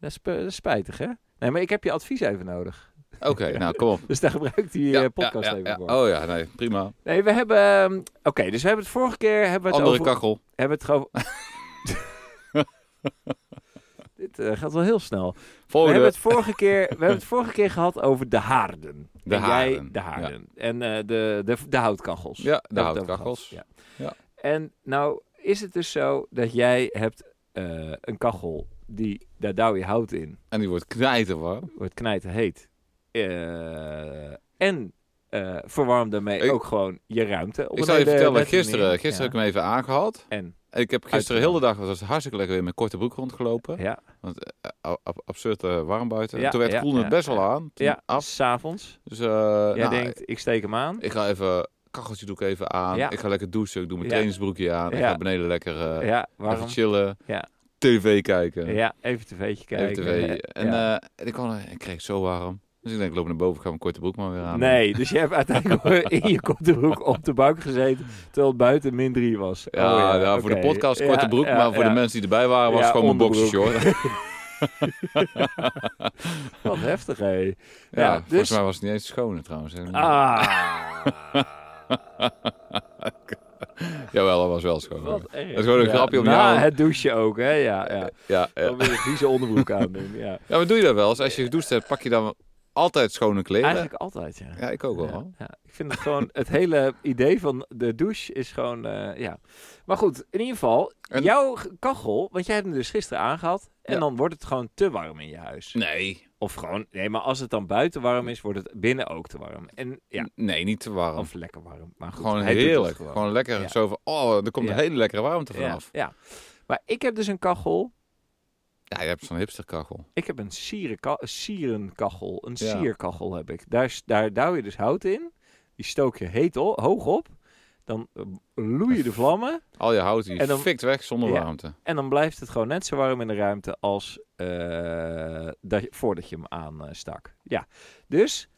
Speaker 2: Dat is, sp- dat is spijtig, hè? Nee, maar ik heb je advies even nodig.
Speaker 1: Oké, nou kom op.
Speaker 2: Dus daar gebruikt die eh, podcast
Speaker 1: ja, ja,
Speaker 2: even
Speaker 1: ja.
Speaker 2: voor.
Speaker 1: Oh ja, nee, prima.
Speaker 2: Nee, we hebben... ehm, Oké, dus we hebben het vorige keer... Hebben we het
Speaker 1: Andere
Speaker 2: over,
Speaker 1: kachel.
Speaker 2: hebben we het gewoon... Dit eh, gaat wel heel snel. We
Speaker 1: Volgende.
Speaker 2: hebben, het vorige keer, we hebben het vorige keer gehad over de haarden.
Speaker 1: De
Speaker 2: En jij
Speaker 1: haarden,
Speaker 2: de haarden. En eh, de, de, de houtkachels.
Speaker 1: Ja, de
Speaker 2: Daar hebben we het
Speaker 1: houtkachels.
Speaker 2: over gehad, Ja.
Speaker 1: Ja.
Speaker 2: En nou is het dus zo dat jij hebt eh, een kachel die daar douw je hout in,
Speaker 1: En die wordt knijterwarm.
Speaker 2: wordt knijten heet. en eh verwarm daarmee
Speaker 1: Ik-
Speaker 2: ook gewoon je ruimte. Op
Speaker 1: Ik
Speaker 2: een
Speaker 1: zal je
Speaker 2: hele
Speaker 1: vertellen,
Speaker 2: nette
Speaker 1: gisteren,
Speaker 2: manier.
Speaker 1: gisteren heb ik
Speaker 2: ja.
Speaker 1: hem even aangehad.
Speaker 2: En
Speaker 1: Ik heb gisteren heel de dag, het was hartstikke lekker weer, met korte broek rondgelopen.
Speaker 2: ja,
Speaker 1: A- ab- absurd eh, warm buiten.
Speaker 2: Ja,
Speaker 1: toen werd
Speaker 2: ja,
Speaker 1: het koel net
Speaker 2: ja,
Speaker 1: best
Speaker 2: ja.
Speaker 1: wel aan. Toen
Speaker 2: ja
Speaker 1: af.
Speaker 2: s'avonds.
Speaker 1: Dus eh,
Speaker 2: Jij
Speaker 1: nou,
Speaker 2: denkt, ik steek hem aan.
Speaker 1: ik ga even, kacheltje doe ik even aan.
Speaker 2: Ja.
Speaker 1: Ik ga lekker douchen, ik doe mijn
Speaker 2: Ja.
Speaker 1: trainingsbroekje aan. Ik
Speaker 2: Ja.
Speaker 1: ga beneden lekker eh,
Speaker 2: ja,
Speaker 1: even
Speaker 2: waarom?
Speaker 1: chillen.
Speaker 2: Ja.
Speaker 1: TV kijken.
Speaker 2: Ja, even tv'tje kijken.
Speaker 1: Even TV. En
Speaker 2: Ja.
Speaker 1: eh, en ik, kwam, er- ik kreeg het zo warm. Dus ik denk, ik loop naar boven, ik ga mijn korte broek maar weer aan.
Speaker 2: Nee, dus je hebt uiteindelijk in je korte broek op de bank gezeten, terwijl het buiten min 3 was.
Speaker 1: Ja,
Speaker 2: Oh
Speaker 1: nou, voor de
Speaker 2: oké.
Speaker 1: podcast
Speaker 2: Ja,
Speaker 1: korte broek,
Speaker 2: ja,
Speaker 1: maar voor
Speaker 2: ja.
Speaker 1: de mensen die erbij waren, was
Speaker 2: Ja,
Speaker 1: het gewoon mijn
Speaker 2: onderbroek.
Speaker 1: boxershort. ja,
Speaker 2: Wat heftig, hé.
Speaker 1: ja, volgens
Speaker 2: dus-
Speaker 1: mij was het niet eens schoon trouwens.
Speaker 2: Ah.
Speaker 1: Jawel, dat was wel schoon.
Speaker 2: Wat erg.
Speaker 1: is gewoon een
Speaker 2: Ja,
Speaker 1: grapje om
Speaker 2: na
Speaker 1: jou.
Speaker 2: het douchen ook, hè. Ja, ja.
Speaker 1: Ja, ja.
Speaker 2: Dan weer een vieze onderbroek aandoen, ja.
Speaker 1: Ja, maar doe je dat wel? eens? als je gedoucht hebt, pak je dan altijd schone kleren?
Speaker 2: Eigenlijk altijd, ja.
Speaker 1: Ja, ik ook wel. hoor.
Speaker 2: Ja, ja. Ik vind het gewoon, het hele idee van de douche is gewoon, eh, ja. Maar goed, in ieder geval,
Speaker 1: En-
Speaker 2: jouw kachel, want jij hebt hem dus gisteren aangehad, en
Speaker 1: Ja.
Speaker 2: dan wordt het gewoon te warm in je huis.
Speaker 1: Nee.
Speaker 2: Of gewoon, nee, maar als het dan buiten warm is, wordt het binnen ook te warm. En ja,
Speaker 1: N- Nee, niet te warm.
Speaker 2: of lekker warm. Maar goed,
Speaker 1: gewoon
Speaker 2: hij doet het
Speaker 1: heerlijk. Gewoon. lekker.
Speaker 2: Ja.
Speaker 1: Zo van, oh, er komt
Speaker 2: Ja.
Speaker 1: een hele lekkere warmte
Speaker 2: Ja,
Speaker 1: vanaf.
Speaker 2: ja. Maar ik heb dus een kachel.
Speaker 1: Ja, je hebt zo'n hipsterkachel.
Speaker 2: Ik heb een sierenka- een sierenkachel. Een
Speaker 1: Ja.
Speaker 2: sierkachel heb ik. Daar, s- daar douw je dus hout in. Die stook je heet o- hoog op. Dan eh, loeien de vlammen.
Speaker 1: Al je hout die
Speaker 2: En dan-
Speaker 1: fikt weg zonder
Speaker 2: Ja.
Speaker 1: warmte.
Speaker 2: En dan blijft het gewoon net zo warm in de ruimte als eh, dat, je- voordat je hem aanstak. ja, dus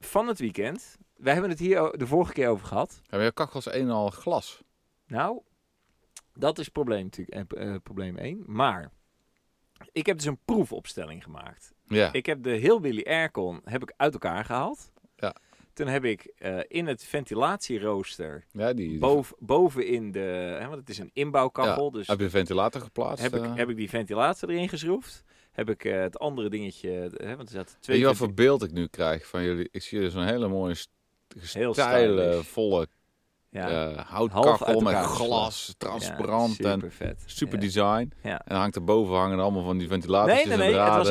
Speaker 2: van het weekend. We hebben het hier o- de vorige keer over gehad.
Speaker 1: Ja, maar je kachel is een en al glas.
Speaker 2: Nou, dat is probleem natuurlijk, eh, eh, probleem 1. Maar ik heb dus een proefopstelling gemaakt.
Speaker 1: Ja.
Speaker 2: Ik heb de heel Willy Aircon heb ik uit elkaar gehaald.
Speaker 1: Ja.
Speaker 2: Toen heb ik eh, in het ventilatierooster
Speaker 1: ja die, die-
Speaker 2: boven, bovenin de, hè, want het is een inbouwkachel, dus
Speaker 1: Heb je de ventilator geplaatst?
Speaker 2: heb,
Speaker 1: eh?
Speaker 2: ik, heb ik die ventilator erin geschroefd. Heb ik eh, het andere dingetje, eh, hè, want er zaten
Speaker 1: Weet
Speaker 2: twee...
Speaker 1: je wat
Speaker 2: venti-
Speaker 1: voor beeld ik nu krijg van jullie? Ik zie er zo'n hele mooie st-
Speaker 2: Heel
Speaker 1: stijle,
Speaker 2: stylish.
Speaker 1: volle
Speaker 2: Ja.
Speaker 1: eh,
Speaker 2: Half uit
Speaker 1: houtkachel met
Speaker 2: elkaar
Speaker 1: glas, transparant
Speaker 2: ja,
Speaker 1: en
Speaker 2: super vet.
Speaker 1: super
Speaker 2: ja.
Speaker 1: design.
Speaker 2: Ja.
Speaker 1: En hangt erboven hangen allemaal van die ventilators.
Speaker 2: Nee, nee, nee, het was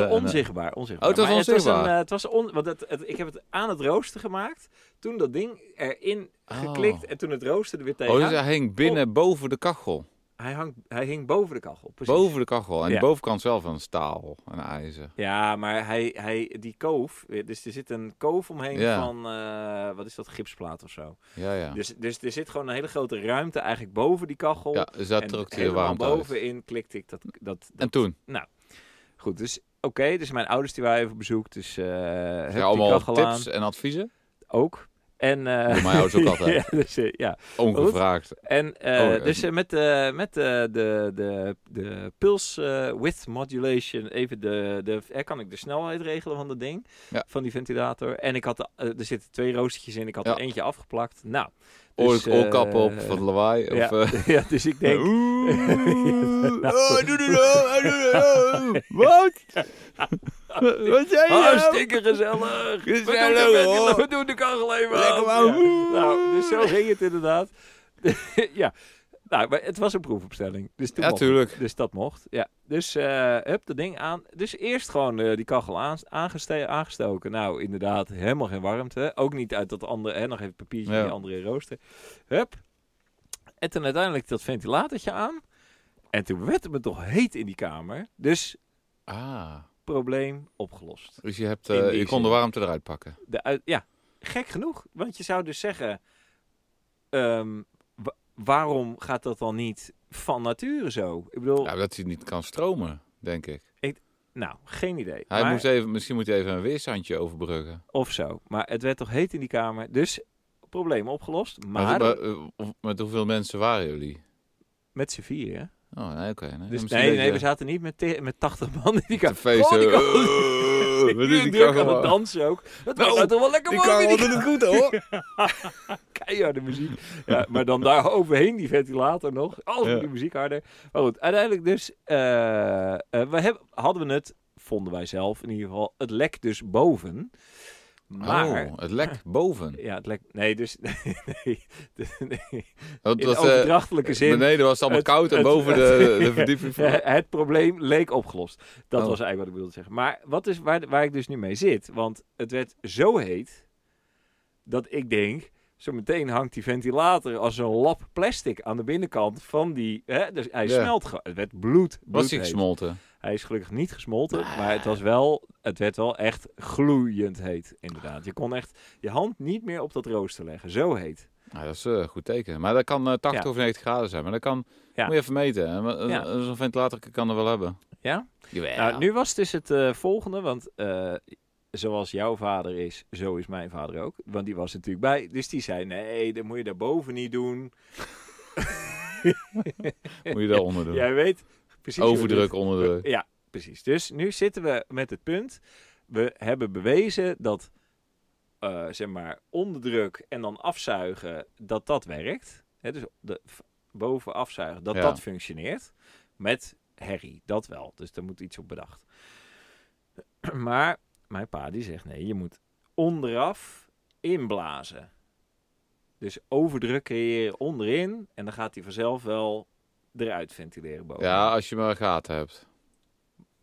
Speaker 1: eh,
Speaker 2: onzichtbaar. onzichtbaar.
Speaker 1: Oh, het was
Speaker 2: Maar
Speaker 1: onzichtbaar.
Speaker 2: een, eh, Het was, on, want het, het- ik heb het aan het rooster gemaakt. Toen dat ding erin
Speaker 1: Oh.
Speaker 2: geklikt en toen het rooster er weer tegen.
Speaker 1: Oh, dus hij hing binnen boven de kachel.
Speaker 2: hij, hangt, hij hing boven de kachel. Precies.
Speaker 1: Boven de kachel. En
Speaker 2: Ja.
Speaker 1: de bovenkant zelf van staal en ijzer.
Speaker 2: Ja, maar hij, hij, die koof, dus er zit een koof omheen
Speaker 1: Ja.
Speaker 2: van, eh, wat is dat, gipsplaat of zo.
Speaker 1: Ja, ja.
Speaker 2: Dus, dus er zit gewoon een hele grote ruimte eigenlijk boven die kachel.
Speaker 1: ja, dus daar
Speaker 2: en
Speaker 1: trok hij de
Speaker 2: helemaal
Speaker 1: warmte uit.
Speaker 2: bovenin klikte ik dat, dat, dat
Speaker 1: En toen?
Speaker 2: Goed, dus oké, dus mijn ouders die waren even op bezoek, dus eh heb
Speaker 1: Ja,
Speaker 2: die
Speaker 1: allemaal
Speaker 2: kachel aan.
Speaker 1: tips en adviezen?
Speaker 2: ook. En, eh
Speaker 1: Door mijn ouders ook altijd.
Speaker 2: ja, dus, eh, ja.
Speaker 1: Ongevraagd.
Speaker 2: En, eh,
Speaker 1: Oh, eh.
Speaker 2: dus eh, met, eh, met eh, de, de, de pulse eh, width modulation, even de, de, eh, kan ik de snelheid regelen van dat ding,
Speaker 1: Ja.
Speaker 2: van die ventilator. En ik had, de- eh, er zitten twee roostertjes in, ik had
Speaker 1: Ja.
Speaker 2: er eentje afgeplakt. Nou,
Speaker 1: Oor,
Speaker 2: dus, eh,
Speaker 1: oorkappen op van het lawaai.
Speaker 2: ja,
Speaker 1: Of, eh,
Speaker 2: ja, dus ik denk, Nou,
Speaker 1: Oeh, oh, doe, doe, doe, oh, doe, doe, oh. Wat? Wat zei je nou?
Speaker 2: hartstikke Oh, gezellig.
Speaker 1: Dit is
Speaker 2: We doen,
Speaker 1: wel
Speaker 2: de
Speaker 1: leuk,
Speaker 2: ventila-
Speaker 1: hoor.
Speaker 2: we doen de kachel even
Speaker 1: Lekker
Speaker 2: aan.
Speaker 1: wauw.
Speaker 2: Ja. Nou, dus zo ging het inderdaad. ja, nou, maar het was een proefopstelling. Dus toen
Speaker 1: Ja,
Speaker 2: mocht het.
Speaker 1: tuurlijk.
Speaker 2: Dus dat mocht. Ja. Dus eh hup, dat ding aan. Dus eerst gewoon eh, die kachel aan, aangeste- aangestoken. Nou, inderdaad, helemaal geen warmte. Ook niet uit dat andere, hè, nog even papiertje van
Speaker 1: Ja.
Speaker 2: die andere rooster. Hup. En toen uiteindelijk dat ventilatortje aan. En toen werd het me toch heet in die kamer. Dus
Speaker 1: Ah,
Speaker 2: probleem opgelost.
Speaker 1: dus je, hebt,
Speaker 2: In
Speaker 1: eh,
Speaker 2: die
Speaker 1: je kon de
Speaker 2: zin.
Speaker 1: warmte eruit pakken.
Speaker 2: De uit, ja, gek genoeg. Want je zou dus zeggen, ehm, wa- waarom gaat dat dan niet van nature zo? Ik bedoel,
Speaker 1: Ja, dat hij niet kan stromen, denk ik.
Speaker 2: nou, geen idee.
Speaker 1: Hij
Speaker 2: Maar-
Speaker 1: moest even, misschien moet hij even een weerstandje overbruggen.
Speaker 2: Of zo. Maar het werd toch heet in die kamer. Dus probleem opgelost.
Speaker 1: Maar,
Speaker 2: Maar,
Speaker 1: maar, eh, of- met hoeveel mensen waren jullie?
Speaker 2: met z'n vieren.
Speaker 1: Oh, nee, oké. nee.
Speaker 2: Dus
Speaker 1: Misschien
Speaker 2: nee,
Speaker 1: dat
Speaker 2: nee,
Speaker 1: je
Speaker 2: we zaten niet met, te- met 80 man in die kamer.
Speaker 1: te feesten.
Speaker 2: Oh, die kamer.
Speaker 1: Eh, wat is die
Speaker 2: druk aan
Speaker 1: kachel?
Speaker 2: het dansen ook. Dat
Speaker 1: Nou,
Speaker 2: kan nou toch wel lekker
Speaker 1: Die
Speaker 2: warm in
Speaker 1: kan
Speaker 2: die
Speaker 1: doet het goed, hoor.
Speaker 2: keiharde muziek. Ja, maar dan daar overheen die ventilator nog. Oh,
Speaker 1: Ja.
Speaker 2: die muziek harder. Maar goed, uiteindelijk dus... eh, eh, we hebben, hadden we het, vonden wij zelf in ieder geval, het lek dus boven. Maar...
Speaker 1: Oh, het lek boven.
Speaker 2: Ja, het lek... Nee, dus... Nee, nee.
Speaker 1: Dat,
Speaker 2: In
Speaker 1: dat, eh,
Speaker 2: overdrachtelijke zin.
Speaker 1: beneden was het allemaal
Speaker 2: het-
Speaker 1: koud en
Speaker 2: het-
Speaker 1: boven de, de
Speaker 2: ja.
Speaker 1: verdieping van...
Speaker 2: Eh, het probleem leek opgelost. Dat
Speaker 1: Oh.
Speaker 2: was eigenlijk wat ik wilde zeggen. Maar wat is waar, waar ik dus nu mee zit? Want het werd zo heet dat ik denk. Zo meteen hangt die ventilator als een lap plastic aan de binnenkant van die. Hè, dus hij
Speaker 1: Ja.
Speaker 2: smelt gewoon. Het werd bloed.
Speaker 1: Was hij
Speaker 2: bloedheet.
Speaker 1: gesmolten? Nou.
Speaker 2: Hij is gelukkig niet gesmolten, maar het was wel. Het werd wel echt gloeiend heet. Inderdaad. Je kon echt je hand niet meer op dat rooster leggen. Zo heet.
Speaker 1: Nou, dat is eh, een goed teken. Maar dat kan eh, 80
Speaker 2: Ja.
Speaker 1: of 90 graden zijn. Maar dat kan...
Speaker 2: Ja.
Speaker 1: Moet je even meten. hè. Maar, eh,
Speaker 2: Ja.
Speaker 1: Zo'n ventilator kan er wel hebben.
Speaker 2: Ja?
Speaker 1: Jawel.
Speaker 2: Nou, nu was het dus het eh, volgende, want eh, zoals jouw vader is, zo is mijn vader ook. Want die was er natuurlijk bij, dus die zei, nee, dat moet je daarboven niet doen.
Speaker 1: Moet je daaronder doen.
Speaker 2: Jij weet precies... Dus- hoe het
Speaker 1: Overdruk, onderdruk.
Speaker 2: moet. Eh, Ja, precies. Dus nu zitten we met het punt, we hebben bewezen dat, eh, zeg maar, onderdruk en dan afzuigen, dat dat werkt. Hè, dus de, v- boven afzuigen, dat
Speaker 1: Ja.
Speaker 2: dat functioneert. Met herrie, dat wel. Dus daar moet iets op bedacht. Maar mijn pa die zegt nee, je moet onderaf inblazen. Dus overdruk creëren onderin en dan gaat hij vanzelf wel eruit ventileren boven.
Speaker 1: Ja, als je maar gaten hebt.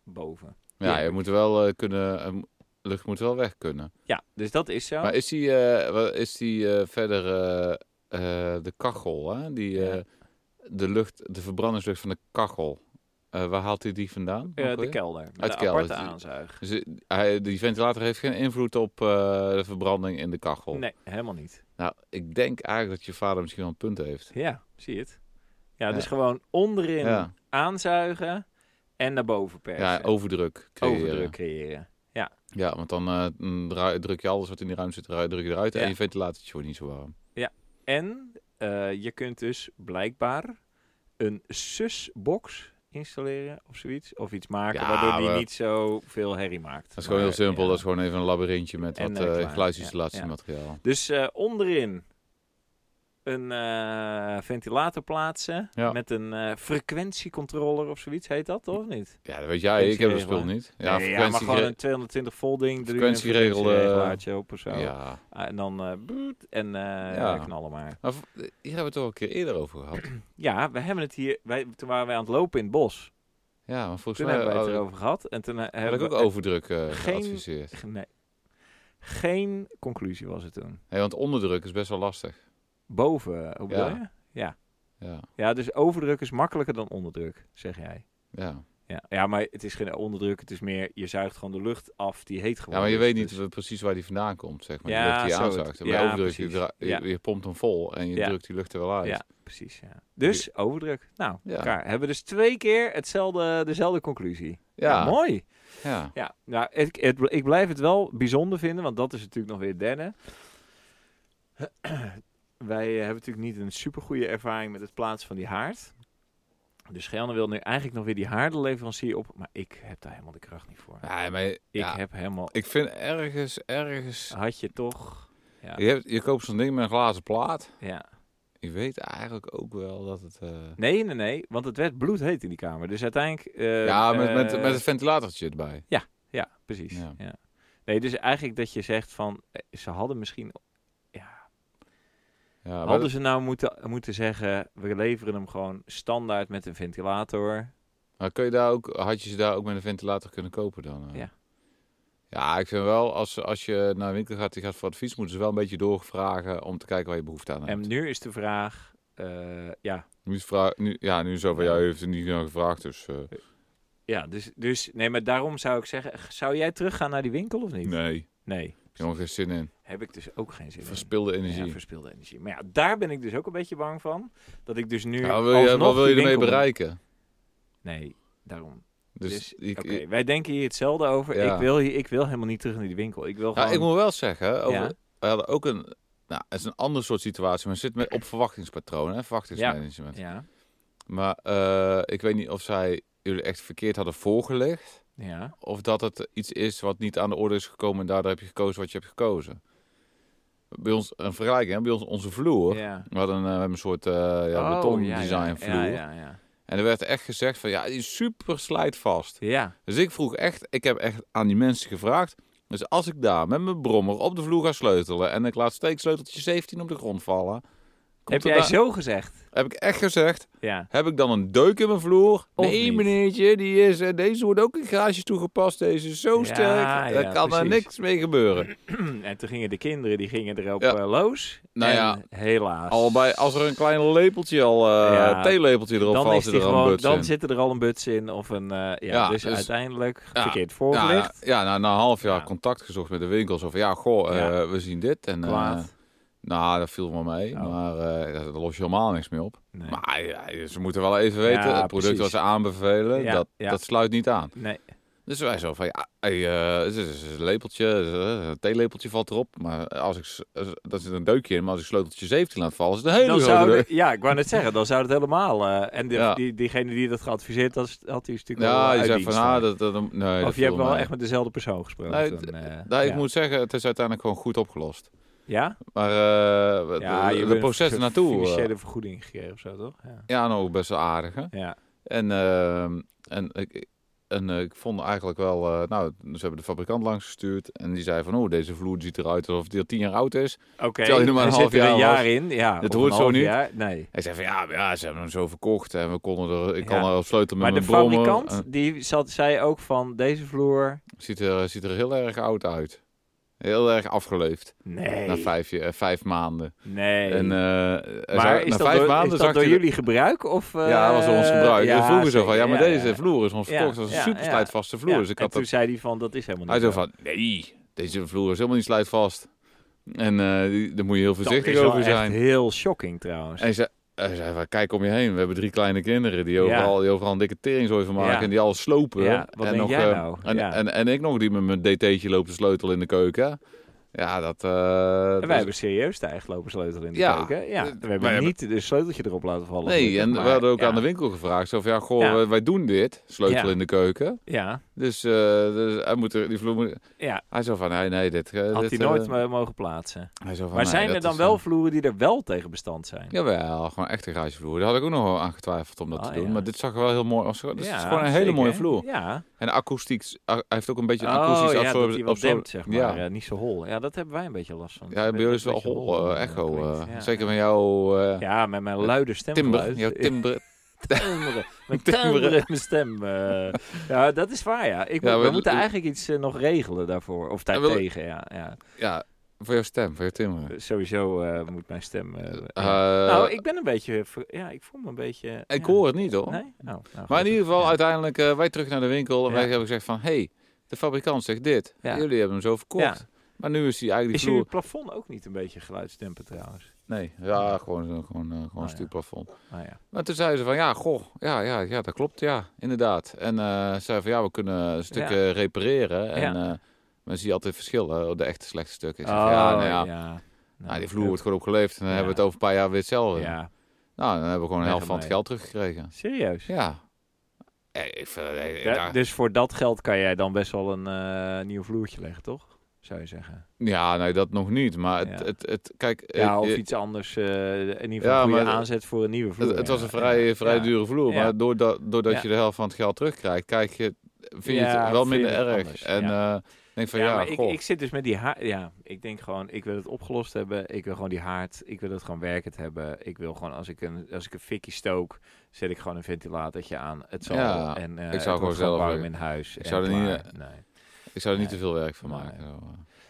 Speaker 2: boven.
Speaker 1: Ja,
Speaker 2: Ja.
Speaker 1: je moet wel eh, kunnen... eh, lucht moet wel weg kunnen.
Speaker 2: ja dus dat is zo.
Speaker 1: Maar is die, eh, wa- is die eh, verder eh, eh, de kachel, hè? Die, eh,
Speaker 2: Ja.
Speaker 1: de, lucht, de verbrandingslucht van de kachel. Eh, waar haalt hij die vandaan?
Speaker 2: Eh,
Speaker 1: Ook
Speaker 2: de
Speaker 1: weer?
Speaker 2: kelder. Met
Speaker 1: Uit
Speaker 2: de
Speaker 1: kelder.
Speaker 2: aparte aanzuig.
Speaker 1: Dus eh, hij, die ventilator heeft geen invloed op eh, de verbranding in de kachel.
Speaker 2: Nee, helemaal niet.
Speaker 1: Nou, ik denk eigenlijk dat je vader misschien wel een punt heeft.
Speaker 2: Ja, zie je het. Ja,
Speaker 1: Ja.
Speaker 2: dus gewoon onderin
Speaker 1: Ja,
Speaker 2: aanzuigen en naar boven persen.
Speaker 1: ja overdruk creëren.
Speaker 2: overdruk creëren.
Speaker 1: Ja, want dan eh, mm, draai- druk je alles wat in die ruimte zit, eruit, druk je eruit
Speaker 2: Ja.
Speaker 1: en je ventilatortje wordt niet zo warm.
Speaker 2: En eh, je kunt dus blijkbaar een susbox installeren of zoiets. Of iets maken
Speaker 1: Ja,
Speaker 2: waardoor die
Speaker 1: we-
Speaker 2: niet zoveel herrie maakt.
Speaker 1: Dat is gewoon heel simpel. Dat is gewoon even een labyrintje met
Speaker 2: En,
Speaker 1: wat
Speaker 2: eh,
Speaker 1: eh
Speaker 2: klaar.
Speaker 1: geluidsissolatiemateriaal.
Speaker 2: Dus eh, onderin Dus, eh, een eh, ventilator plaatsen
Speaker 1: Ja.
Speaker 2: met een eh, frequentiecontroller of zoiets heet dat, of niet?
Speaker 1: Ja, dat weet jij. Ik heb het
Speaker 2: Frequentieregelaar.
Speaker 1: spul niet. Ja,
Speaker 2: Nee, ja, maar
Speaker 1: frequentie.
Speaker 2: gewoon een 220 volt ding, doe je een
Speaker 1: Frequentieregel, eh,
Speaker 2: frequentieregelaartje op of zo.
Speaker 1: Ja.
Speaker 2: Ah, en dan eh, boet, en eh,
Speaker 1: Ja.
Speaker 2: knallen maar.
Speaker 1: Maar v- hier hebben we het toch al een keer eerder over gehad.
Speaker 2: Ja, we hebben het hier, wij, toen waren wij aan het lopen in het bos.
Speaker 1: Ja, maar volgens
Speaker 2: Toen
Speaker 1: mij
Speaker 2: hebben wij het
Speaker 1: hadden-
Speaker 2: erover gehad. En toen eh,
Speaker 1: had
Speaker 2: hebben
Speaker 1: ik ook
Speaker 2: we-
Speaker 1: overdruk eh,
Speaker 2: geen-
Speaker 1: geadviseerd.
Speaker 2: Nee. Geen conclusie was het toen.
Speaker 1: Nee, want onderdruk is best wel lastig.
Speaker 2: Boven, eh, hoe bedoel
Speaker 1: Ja.
Speaker 2: je?
Speaker 1: Ja,
Speaker 2: Ja, dus overdruk is makkelijker dan onderdruk, zeg jij.
Speaker 1: ja.
Speaker 2: Ja, ja maar het is geen onderdruk, het is meer, je zuigt gewoon de lucht af, die heet
Speaker 1: ja
Speaker 2: gewoon.
Speaker 1: maar je
Speaker 2: Dus-
Speaker 1: weet niet
Speaker 2: dus-
Speaker 1: we- precies waar die vandaan komt, zeg maar.
Speaker 2: Ja,
Speaker 1: die lucht die
Speaker 2: zo het.
Speaker 1: aanzuigt. En
Speaker 2: Ja,
Speaker 1: Bij overdruk, je,
Speaker 2: precies.
Speaker 1: dra- je-
Speaker 2: Ja.
Speaker 1: je pompt hem vol en je
Speaker 2: Ja.
Speaker 1: drukt die lucht er wel uit.
Speaker 2: Ja, precies, ja. Dus, overdruk. Nou,
Speaker 1: Ja.
Speaker 2: elkaar. hebben we dus twee keer hetzelfde, dezelfde conclusie.
Speaker 1: ja.
Speaker 2: mooi.
Speaker 1: ja.
Speaker 2: Ja, nou, ik, het, ik blijf het wel bijzonder vinden, want dat is natuurlijk nog weer het derde. Wij eh, hebben natuurlijk niet een supergoeie ervaring met het plaatsen van die haard. Dus Gelder wil nu eigenlijk nog weer die haardenleverancier op, maar ik heb daar helemaal de kracht niet voor.
Speaker 1: Ja, maar, ik,
Speaker 2: Ik
Speaker 1: ja,
Speaker 2: heb helemaal...
Speaker 1: ik vind ergens, ergens...
Speaker 2: Had je toch... Ja.
Speaker 1: Je, hebt, je koopt zo'n ding met een glazen plaat.
Speaker 2: Ja.
Speaker 1: Je weet eigenlijk ook wel dat het... eh,
Speaker 2: Nee, nee, nee, want het werd bloedheet in die kamer. Dus uiteindelijk... eh,
Speaker 1: ja, met, met,
Speaker 2: eh,
Speaker 1: met het ventilatortje erbij.
Speaker 2: Ja, precies. Ja.
Speaker 1: Ja.
Speaker 2: Nee, dus eigenlijk dat je zegt van, eh, ze hadden misschien... Ja,
Speaker 1: Ja, maar
Speaker 2: Hadden ze nou moeten, moeten zeggen, we leveren hem gewoon standaard met een ventilator?
Speaker 1: Maar kun je daar ook, had je ze daar ook met een ventilator kunnen kopen dan? eh?
Speaker 2: Ja.
Speaker 1: Ja, ik vind wel, als, als je naar een winkel gaat die gaat voor advies, moeten ze wel een beetje doorvragen om te kijken waar je behoefte aan hebt.
Speaker 2: En nu is de vraag, eh, ja,
Speaker 1: Nu, is vra- nu, ja, nu is zo van, ja, u heeft er niet naar gevraagd, dus eh,
Speaker 2: ja dus, dus nee, maar daarom zou ik zeggen, zou jij teruggaan naar die winkel of niet?
Speaker 1: nee,
Speaker 2: Nee.
Speaker 1: helemaal geen zin in.
Speaker 2: Heb ik dus ook geen zin in.
Speaker 1: Verspilde energie.
Speaker 2: Ja, verspilde energie. Maar ja, daar ben ik dus ook een beetje bang van. Dat ik dus nu.
Speaker 1: Ja, wat wil je,
Speaker 2: alsnog
Speaker 1: wat wil je
Speaker 2: die
Speaker 1: ermee
Speaker 2: winkel-
Speaker 1: bereiken?
Speaker 2: Nee, daarom.
Speaker 1: Dus,
Speaker 2: Dus,
Speaker 1: ik,
Speaker 2: Oké,
Speaker 1: ik-
Speaker 2: wij denken hier hetzelfde over.
Speaker 1: Ja.
Speaker 2: Ik, wil hier, ik wil helemaal niet terug naar die winkel. Ik wil
Speaker 1: ja,
Speaker 2: gewoon.
Speaker 1: ik moet wel zeggen, over,
Speaker 2: Ja.
Speaker 1: we hadden ook een, nou, het is een ander soort situatie, maar het zit met, op verwachtingspatronen, hè, verwachtingsmanagement.
Speaker 2: Ja,
Speaker 1: Maar eh, ik weet niet of zij jullie echt verkeerd hadden voorgelegd.
Speaker 2: ja.
Speaker 1: of dat het iets is wat niet aan de orde is gekomen en daardoor heb je gekozen wat je hebt gekozen. Bij ons een vergelijking, hè? bij ons onze vloer.
Speaker 2: ja.
Speaker 1: We hadden een, eh, we hebben een soort eh ja,
Speaker 2: Oh,
Speaker 1: beton
Speaker 2: ja, ja,
Speaker 1: design vloer.
Speaker 2: Ja, ja, ja.
Speaker 1: En er werd echt gezegd van ja, die is super slijtvast.
Speaker 2: ja.
Speaker 1: Dus ik vroeg echt, ik heb echt aan die mensen gevraagd. Dus als ik daar met mijn brommer op de vloer ga sleutelen en ik laat steeksleuteltje 17 op de grond vallen.
Speaker 2: Heb
Speaker 1: komt er
Speaker 2: jij
Speaker 1: daar-
Speaker 2: zo gezegd?
Speaker 1: heb ik echt gezegd,
Speaker 2: Ja.
Speaker 1: heb ik dan een deuk in mijn vloer?
Speaker 2: Of
Speaker 1: nee,
Speaker 2: niet?
Speaker 1: meneertje, die is, eh, deze wordt ook in garages toegepast. Deze is zo
Speaker 2: Ja,
Speaker 1: sterk, daar
Speaker 2: ja,
Speaker 1: kan er
Speaker 2: precies.
Speaker 1: niks mee gebeuren.
Speaker 2: En toen gingen de kinderen die gingen erop
Speaker 1: Ja.
Speaker 2: eh, los.
Speaker 1: Nou
Speaker 2: en
Speaker 1: ja,
Speaker 2: helaas.
Speaker 1: Al bij, als er een klein lepeltje al, eh
Speaker 2: Ja.
Speaker 1: theelepeltje erop
Speaker 2: dan,
Speaker 1: valt,
Speaker 2: is
Speaker 1: zit
Speaker 2: die
Speaker 1: er al een
Speaker 2: gewoon,
Speaker 1: buts
Speaker 2: dan
Speaker 1: in.
Speaker 2: zitten er al een buts in. Of een, eh, ja,
Speaker 1: Ja,
Speaker 2: dus,
Speaker 1: dus-
Speaker 2: uiteindelijk
Speaker 1: Ja.
Speaker 2: verkeerd
Speaker 1: Ja, ja,
Speaker 2: voorgelicht.
Speaker 1: ja, na, na een half jaar
Speaker 2: Ja.
Speaker 1: contact gezocht met de winkels. Of ja, goh, eh,
Speaker 2: Ja.
Speaker 1: we zien dit. En, eh,
Speaker 2: Kwaad.
Speaker 1: nou, dat viel me mee.
Speaker 2: Oh.
Speaker 1: Maar eh, daar los je helemaal niks mee op.
Speaker 2: Nee.
Speaker 1: Maar ja, ze moeten wel even weten,
Speaker 2: Ja,
Speaker 1: het product
Speaker 2: precies.
Speaker 1: wat ze aanbevelen,
Speaker 2: Ja,
Speaker 1: eh, dat,
Speaker 2: ja.
Speaker 1: dat sluit niet aan.
Speaker 2: nee.
Speaker 1: Dus wij zo van, ja, hey, eh, het is- het is een lepeltje, eh, een theelepeltje valt erop. Maar als ik, s- eh, daar zit een deukje in, maar als ik sleuteltje 17 laat vallen, is het een hele
Speaker 2: Dan
Speaker 1: grote
Speaker 2: zou
Speaker 1: deuk.
Speaker 2: het- ja, ik wou net zeggen, dan zou het helemaal. eh, en de-
Speaker 1: Ja.
Speaker 2: die, diegene die dat geadviseerd had, had hij natuurlijk wel,
Speaker 1: Ja,
Speaker 2: eh,
Speaker 1: je
Speaker 2: uit
Speaker 1: zegt van,
Speaker 2: dienst
Speaker 1: ah,
Speaker 2: dan.
Speaker 1: dat, dat, nee, dat
Speaker 2: Of je hebt
Speaker 1: viel
Speaker 2: wel
Speaker 1: mee.
Speaker 2: echt met dezelfde persoon gesproken.
Speaker 1: Nee,
Speaker 2: toen, eh,
Speaker 1: Nou, ik
Speaker 2: ja.
Speaker 1: moet zeggen, het is uiteindelijk gewoon goed opgelost.
Speaker 2: Ja?
Speaker 1: Maar eh
Speaker 2: Ja,
Speaker 1: de,
Speaker 2: je
Speaker 1: de
Speaker 2: bent
Speaker 1: processen
Speaker 2: een
Speaker 1: naartoe, eh,
Speaker 2: Financiële vergoeding gekregen of zo, toch? Ja.
Speaker 1: ja, nou ook best wel aardig, hè?
Speaker 2: ja.
Speaker 1: En, eh, en, ik, en eh, ik vond eigenlijk wel, eh, nou, ze hebben de fabrikant langs gestuurd. En die zei van, oh, deze vloer ziet eruit alsof die al tien jaar oud is.
Speaker 2: Oké,
Speaker 1: Terwijl je er maar een
Speaker 2: er
Speaker 1: half
Speaker 2: zit er een
Speaker 1: jaar was.
Speaker 2: jaar in. Ja,
Speaker 1: Dit
Speaker 2: of
Speaker 1: hoort
Speaker 2: een
Speaker 1: zo
Speaker 2: half
Speaker 1: niet.
Speaker 2: jaar. Nee.
Speaker 1: Ik zei van ja, maar ja, ze hebben hem zo verkocht en we konden er, ik
Speaker 2: Ja.
Speaker 1: kan er op sleutel met
Speaker 2: Maar de
Speaker 1: mijn eh. brommer.
Speaker 2: fabrikant,
Speaker 1: En
Speaker 2: die zat, zei ook van deze vloer...
Speaker 1: het ziet er, ziet er heel erg oud uit. Heel erg afgeleefd
Speaker 2: Nee,
Speaker 1: na vijf, je- eh, vijf maanden.
Speaker 2: nee.
Speaker 1: En, eh, hij
Speaker 2: maar
Speaker 1: zei-
Speaker 2: is
Speaker 1: na
Speaker 2: dat
Speaker 1: vijf
Speaker 2: door,
Speaker 1: maanden
Speaker 2: is
Speaker 1: zag
Speaker 2: dat door
Speaker 1: hij-
Speaker 2: jullie gebruik? Of, eh,
Speaker 1: Ja, dat was door ons gebruik.
Speaker 2: vroeger
Speaker 1: en vroegen ze van ja, maar deze vloer is ons
Speaker 2: Ja,
Speaker 1: verkocht. Dat is
Speaker 2: ja,
Speaker 1: een super
Speaker 2: ja.
Speaker 1: slijtvaste vloer. Dus ik
Speaker 2: en
Speaker 1: had
Speaker 2: toen
Speaker 1: dat,
Speaker 2: zei hij van, dat is helemaal
Speaker 1: hij
Speaker 2: niet
Speaker 1: zei van nee, deze vloer is helemaal niet slijtvast. En eh, die, daar moet je heel voorzichtig
Speaker 2: dat is wel
Speaker 1: over zijn.
Speaker 2: echt heel shocking trouwens.
Speaker 1: En hij zei, hij zei van, kijk om je heen. We hebben drie kleine kinderen die
Speaker 2: Ja.
Speaker 1: overal, die overal een dikke teringzooi van maken.
Speaker 2: Ja.
Speaker 1: En die alles slopen.
Speaker 2: Ja, wat
Speaker 1: en
Speaker 2: denk jij
Speaker 1: eh,
Speaker 2: nou?
Speaker 1: En,
Speaker 2: Ja.
Speaker 1: en, en ik nog, die met mijn DT'tje loopt de sleutel in de keuken. Ja, dat... eh,
Speaker 2: En
Speaker 1: dat
Speaker 2: wij
Speaker 1: is-
Speaker 2: hebben serieus de eigen lopen sleutel in de
Speaker 1: Ja.
Speaker 2: keuken. Ja, we hebben
Speaker 1: hebben-
Speaker 2: niet de sleuteltje erop laten vallen.
Speaker 1: Nee,
Speaker 2: gelukkig,
Speaker 1: en we
Speaker 2: maar
Speaker 1: hadden ook
Speaker 2: ja.
Speaker 1: aan de winkel gevraagd. Zo van, ja, goh,
Speaker 2: Ja.
Speaker 1: wij- wij doen dit. Sleutel
Speaker 2: Ja.
Speaker 1: in de keuken.
Speaker 2: Ja,
Speaker 1: Dus Dus, eh, dus hij moet er, die vloer moet-
Speaker 2: Ja,
Speaker 1: Hij zo van, nee, nee, dit... eh,
Speaker 2: had
Speaker 1: dit,
Speaker 2: hij nooit
Speaker 1: eh,
Speaker 2: maar mogen plaatsen.
Speaker 1: hij zo van,
Speaker 2: Maar
Speaker 1: nee,
Speaker 2: zijn
Speaker 1: dat
Speaker 2: er dan
Speaker 1: is,
Speaker 2: wel
Speaker 1: eh,
Speaker 2: vloeren die er wel tegen bestand zijn?
Speaker 1: Jawel, gewoon echte garagevloer. Daar had ik ook nog wel aan getwijfeld om dat
Speaker 2: Ah,
Speaker 1: te doen.
Speaker 2: ja.
Speaker 1: Maar dit zag er wel heel mooi uit. Dus
Speaker 2: Ja,
Speaker 1: het is gewoon een hele
Speaker 2: zeker.
Speaker 1: mooie vloer.
Speaker 2: Ja.
Speaker 1: En de akoestiek, hij heeft ook een beetje een
Speaker 2: Oh,
Speaker 1: akoestische
Speaker 2: ja, dat
Speaker 1: absorb-
Speaker 2: die wat
Speaker 1: absorb-
Speaker 2: dempt, zeg maar.
Speaker 1: Ja.
Speaker 2: Eh, niet zo hol. Ja, dat hebben wij een beetje last van.
Speaker 1: Ja, bij
Speaker 2: Dat
Speaker 1: jullie is
Speaker 2: het
Speaker 1: wel
Speaker 2: een beetje
Speaker 1: hol, eh,
Speaker 2: eh,
Speaker 1: echo. eh,
Speaker 2: klinkt. Ja,
Speaker 1: Zeker
Speaker 2: ja.
Speaker 1: van jou, eh,
Speaker 2: Ja, met mijn luide stem.
Speaker 1: timbre. Jouw timbre.
Speaker 2: timberen. Mijn
Speaker 1: Timberen.
Speaker 2: timberen in mijn stem. eh. ja, dat is waar, ja. Ik
Speaker 1: Ja,
Speaker 2: moet- we,
Speaker 1: we-
Speaker 2: moeten eigenlijk iets eh, nog regelen daarvoor. Of
Speaker 1: Ja, wel-
Speaker 2: daartegen, ja, ja.
Speaker 1: Ja, voor jouw stem, voor jouw timbre.
Speaker 2: Sowieso eh, moet mijn stem... eh,
Speaker 1: Eh,
Speaker 2: ja. nou, ik ben een beetje... ver- Ja, ik voel me een beetje...
Speaker 1: ik
Speaker 2: ja.
Speaker 1: hoor het niet hoor.
Speaker 2: Nee? Oh, nou,
Speaker 1: Maar in
Speaker 2: gelukkig.
Speaker 1: ieder geval,
Speaker 2: Ja.
Speaker 1: uiteindelijk, eh, wij terug naar de winkel. En
Speaker 2: Ja.
Speaker 1: wij hebben gezegd van, hey, de fabrikant zegt dit.
Speaker 2: Ja.
Speaker 1: Jullie hebben hem zo verkocht. Maar nu is hij eigenlijk
Speaker 2: Is
Speaker 1: die vloer...
Speaker 2: jullie plafond ook niet een beetje geluidsdempen trouwens?
Speaker 1: Nee, ja, gewoon, gewoon, eh, gewoon een
Speaker 2: Oh, ja.
Speaker 1: stuurplafond.
Speaker 2: Nou ja.
Speaker 1: Maar toen zeiden ze van, ja, goh, ja, ja, ja dat klopt, ja, inderdaad. En eh, ze zeiden van, ja, we kunnen stukken repareren. En
Speaker 2: Ja. Oh,
Speaker 1: eh, men ziet altijd verschillen, de echte slechte stukken. Ik zeg van, ja, nou ja, nou, die vloer wordt goed opgeleefd. En dan
Speaker 2: Ja.
Speaker 1: hebben we het over een paar jaar weer hetzelfde.
Speaker 2: Ja,
Speaker 1: Nou, dan hebben we gewoon de
Speaker 2: Weg
Speaker 1: helft van het
Speaker 2: ermee.
Speaker 1: geld teruggekregen.
Speaker 2: serieus.
Speaker 1: Ja. Eh, Ik vind, eh, eh,
Speaker 2: Ja,
Speaker 1: ja,
Speaker 2: Dus voor dat geld kan jij dan best wel een eh, nieuw vloertje leggen, toch? Zou je zeggen.
Speaker 1: ja, nee, dat nog niet. Maar het,
Speaker 2: Ja.
Speaker 1: het, het, kijk,
Speaker 2: Ja,
Speaker 1: het,
Speaker 2: of
Speaker 1: het-
Speaker 2: iets anders. eh, in ieder
Speaker 1: Ja,
Speaker 2: geval een goede
Speaker 1: maar-
Speaker 2: aanzet voor een nieuwe vloer.
Speaker 1: het, het was
Speaker 2: ja.
Speaker 1: een vrij,
Speaker 2: Ja.
Speaker 1: vrij
Speaker 2: Ja.
Speaker 1: dure vloer.
Speaker 2: Ja.
Speaker 1: Maar doordat, doordat
Speaker 2: Ja.
Speaker 1: je de helft van het geld terugkrijgt, kijk je, vind je
Speaker 2: Ja,
Speaker 1: het wel
Speaker 2: vind je
Speaker 1: minder
Speaker 2: het
Speaker 1: erg.
Speaker 2: anders,
Speaker 1: En eh, denk van,
Speaker 2: Ja,
Speaker 1: ja,
Speaker 2: maar ik,
Speaker 1: goh.
Speaker 2: ik zit dus met die haard. Ja, ik denk gewoon, ik wil het opgelost hebben. Ik wil gewoon die haard. Ik wil het gewoon werkend hebben. Ik wil gewoon, als ik een, als ik een fikkie stook, zet ik gewoon een ventilatortje aan. Het zal.
Speaker 1: Ja,
Speaker 2: wel. en, eh, het
Speaker 1: gewoon
Speaker 2: wordt
Speaker 1: zelf
Speaker 2: warm
Speaker 1: werken.
Speaker 2: in huis.
Speaker 1: Ik
Speaker 2: en
Speaker 1: zou er niet, eh,
Speaker 2: klaar. nee.
Speaker 1: Ik zou er niet
Speaker 2: Nee.
Speaker 1: te veel werk van
Speaker 2: Nee.
Speaker 1: maken. zo, eh.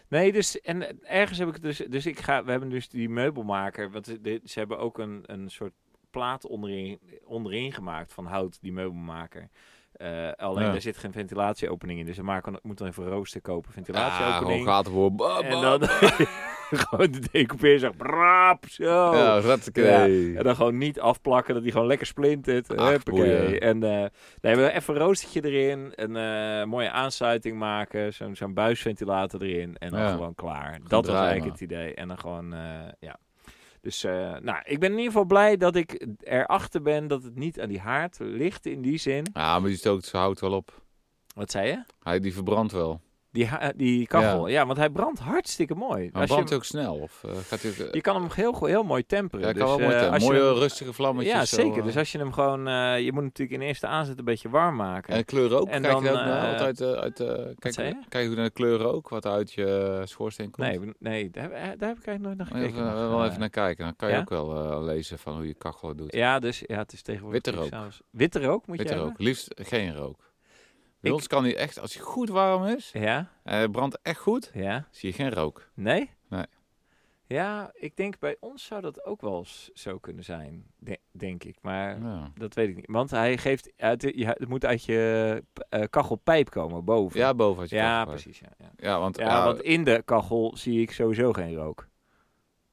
Speaker 2: Nee, dus en ergens heb ik dus, dus ik ga, we hebben dus die meubelmaker, want ze- dit- ze hebben ook een, een soort plaat onderin, onderin gemaakt van hout, die meubelmaker. Eh, alleen
Speaker 1: Ja.
Speaker 2: daar zit geen ventilatieopening in, dus ze maken, moet dan even rooster kopen,
Speaker 1: Ja, Ah, gewoon
Speaker 2: ventilatieopening.
Speaker 1: gaat worden.
Speaker 2: en dan gewoon de decoupeer zegt, braap, zo.
Speaker 1: Ja, rattekee.
Speaker 2: En dan gewoon niet afplakken, dat die gewoon lekker splintert.
Speaker 1: Ach,
Speaker 2: Huppakee.
Speaker 1: boeien.
Speaker 2: En eh nee, we even een roostertje erin, een eh, mooie aansluiting maken, zo'n zo'n buisventilator erin en dan
Speaker 1: Ja.
Speaker 2: gewoon klaar. dat was
Speaker 1: draaien,
Speaker 2: eigenlijk het idee. En dan gewoon, eh, ja. Dus eh, nou, ik ben in ieder geval blij dat ik erachter ben dat het niet aan die haard ligt in die zin.
Speaker 1: Ja, maar die stookt zijn hout wel op.
Speaker 2: Wat zei je?
Speaker 1: Hij, die verbrandt wel.
Speaker 2: Die, ha- die kachel. Ja. want hij brandt hartstikke mooi.
Speaker 1: Maar
Speaker 2: Als
Speaker 1: brandt
Speaker 2: je,
Speaker 1: hij ook snel? Of eh, gaat hij ook... eh,
Speaker 2: je kan hem heel, go- heel mooi temperen.
Speaker 1: ja, kan
Speaker 2: dus,
Speaker 1: wel mooi
Speaker 2: eh,
Speaker 1: tellen.
Speaker 2: als je
Speaker 1: Mooie
Speaker 2: hem-
Speaker 1: rustige vlammetjes.
Speaker 2: Ja,
Speaker 1: zo,
Speaker 2: zeker.
Speaker 1: eh.
Speaker 2: dus als je hem gewoon... eh, je moet natuurlijk in eerste aanzet een beetje warm maken.
Speaker 1: En kleuren ook?
Speaker 2: En
Speaker 1: kijk
Speaker 2: dan,
Speaker 1: je ook naar,
Speaker 2: eh,
Speaker 1: wat uit, eh, uit, eh, kijk,
Speaker 2: zei je?
Speaker 1: kijk je naar de kleuren ook? Wat uit je eh, schoorsteen komt? Oh
Speaker 2: nee, we- nee daar, heb- daar heb ik eigenlijk nooit naar
Speaker 1: Even,
Speaker 2: gekeken. nog,
Speaker 1: wel
Speaker 2: eh.
Speaker 1: even naar kijken. Dan kan je
Speaker 2: ja?
Speaker 1: ook wel eh, lezen van hoe je kachel doet.
Speaker 2: Ja, dus ja, het is tegenwoordig...
Speaker 1: Witte rook.
Speaker 2: s'avonds- Witte rook moet
Speaker 1: Witte
Speaker 2: je
Speaker 1: rook. Liefst geen rook. Bij
Speaker 2: Ik-
Speaker 1: ons kan hij echt, als hij goed warm is,
Speaker 2: hebben? Ja,
Speaker 1: en hij brandt echt goed,
Speaker 2: ja.
Speaker 1: zie je geen rook.
Speaker 2: Nee?
Speaker 1: Nee.
Speaker 2: Ja, ik denk bij ons zou dat ook wel eens zo kunnen zijn. de- denk ik. Maar
Speaker 1: Ja.
Speaker 2: dat weet ik niet. Want hij geeft... Uit, de- ja, het moet uit je eh, kachelpijp komen, boven.
Speaker 1: Ja, boven had je
Speaker 2: Ja,
Speaker 1: kachel.
Speaker 2: precies. Ja, ja.
Speaker 1: Ja, want,
Speaker 2: Ja,
Speaker 1: ja,
Speaker 2: want in de kachel zie ik sowieso geen rook.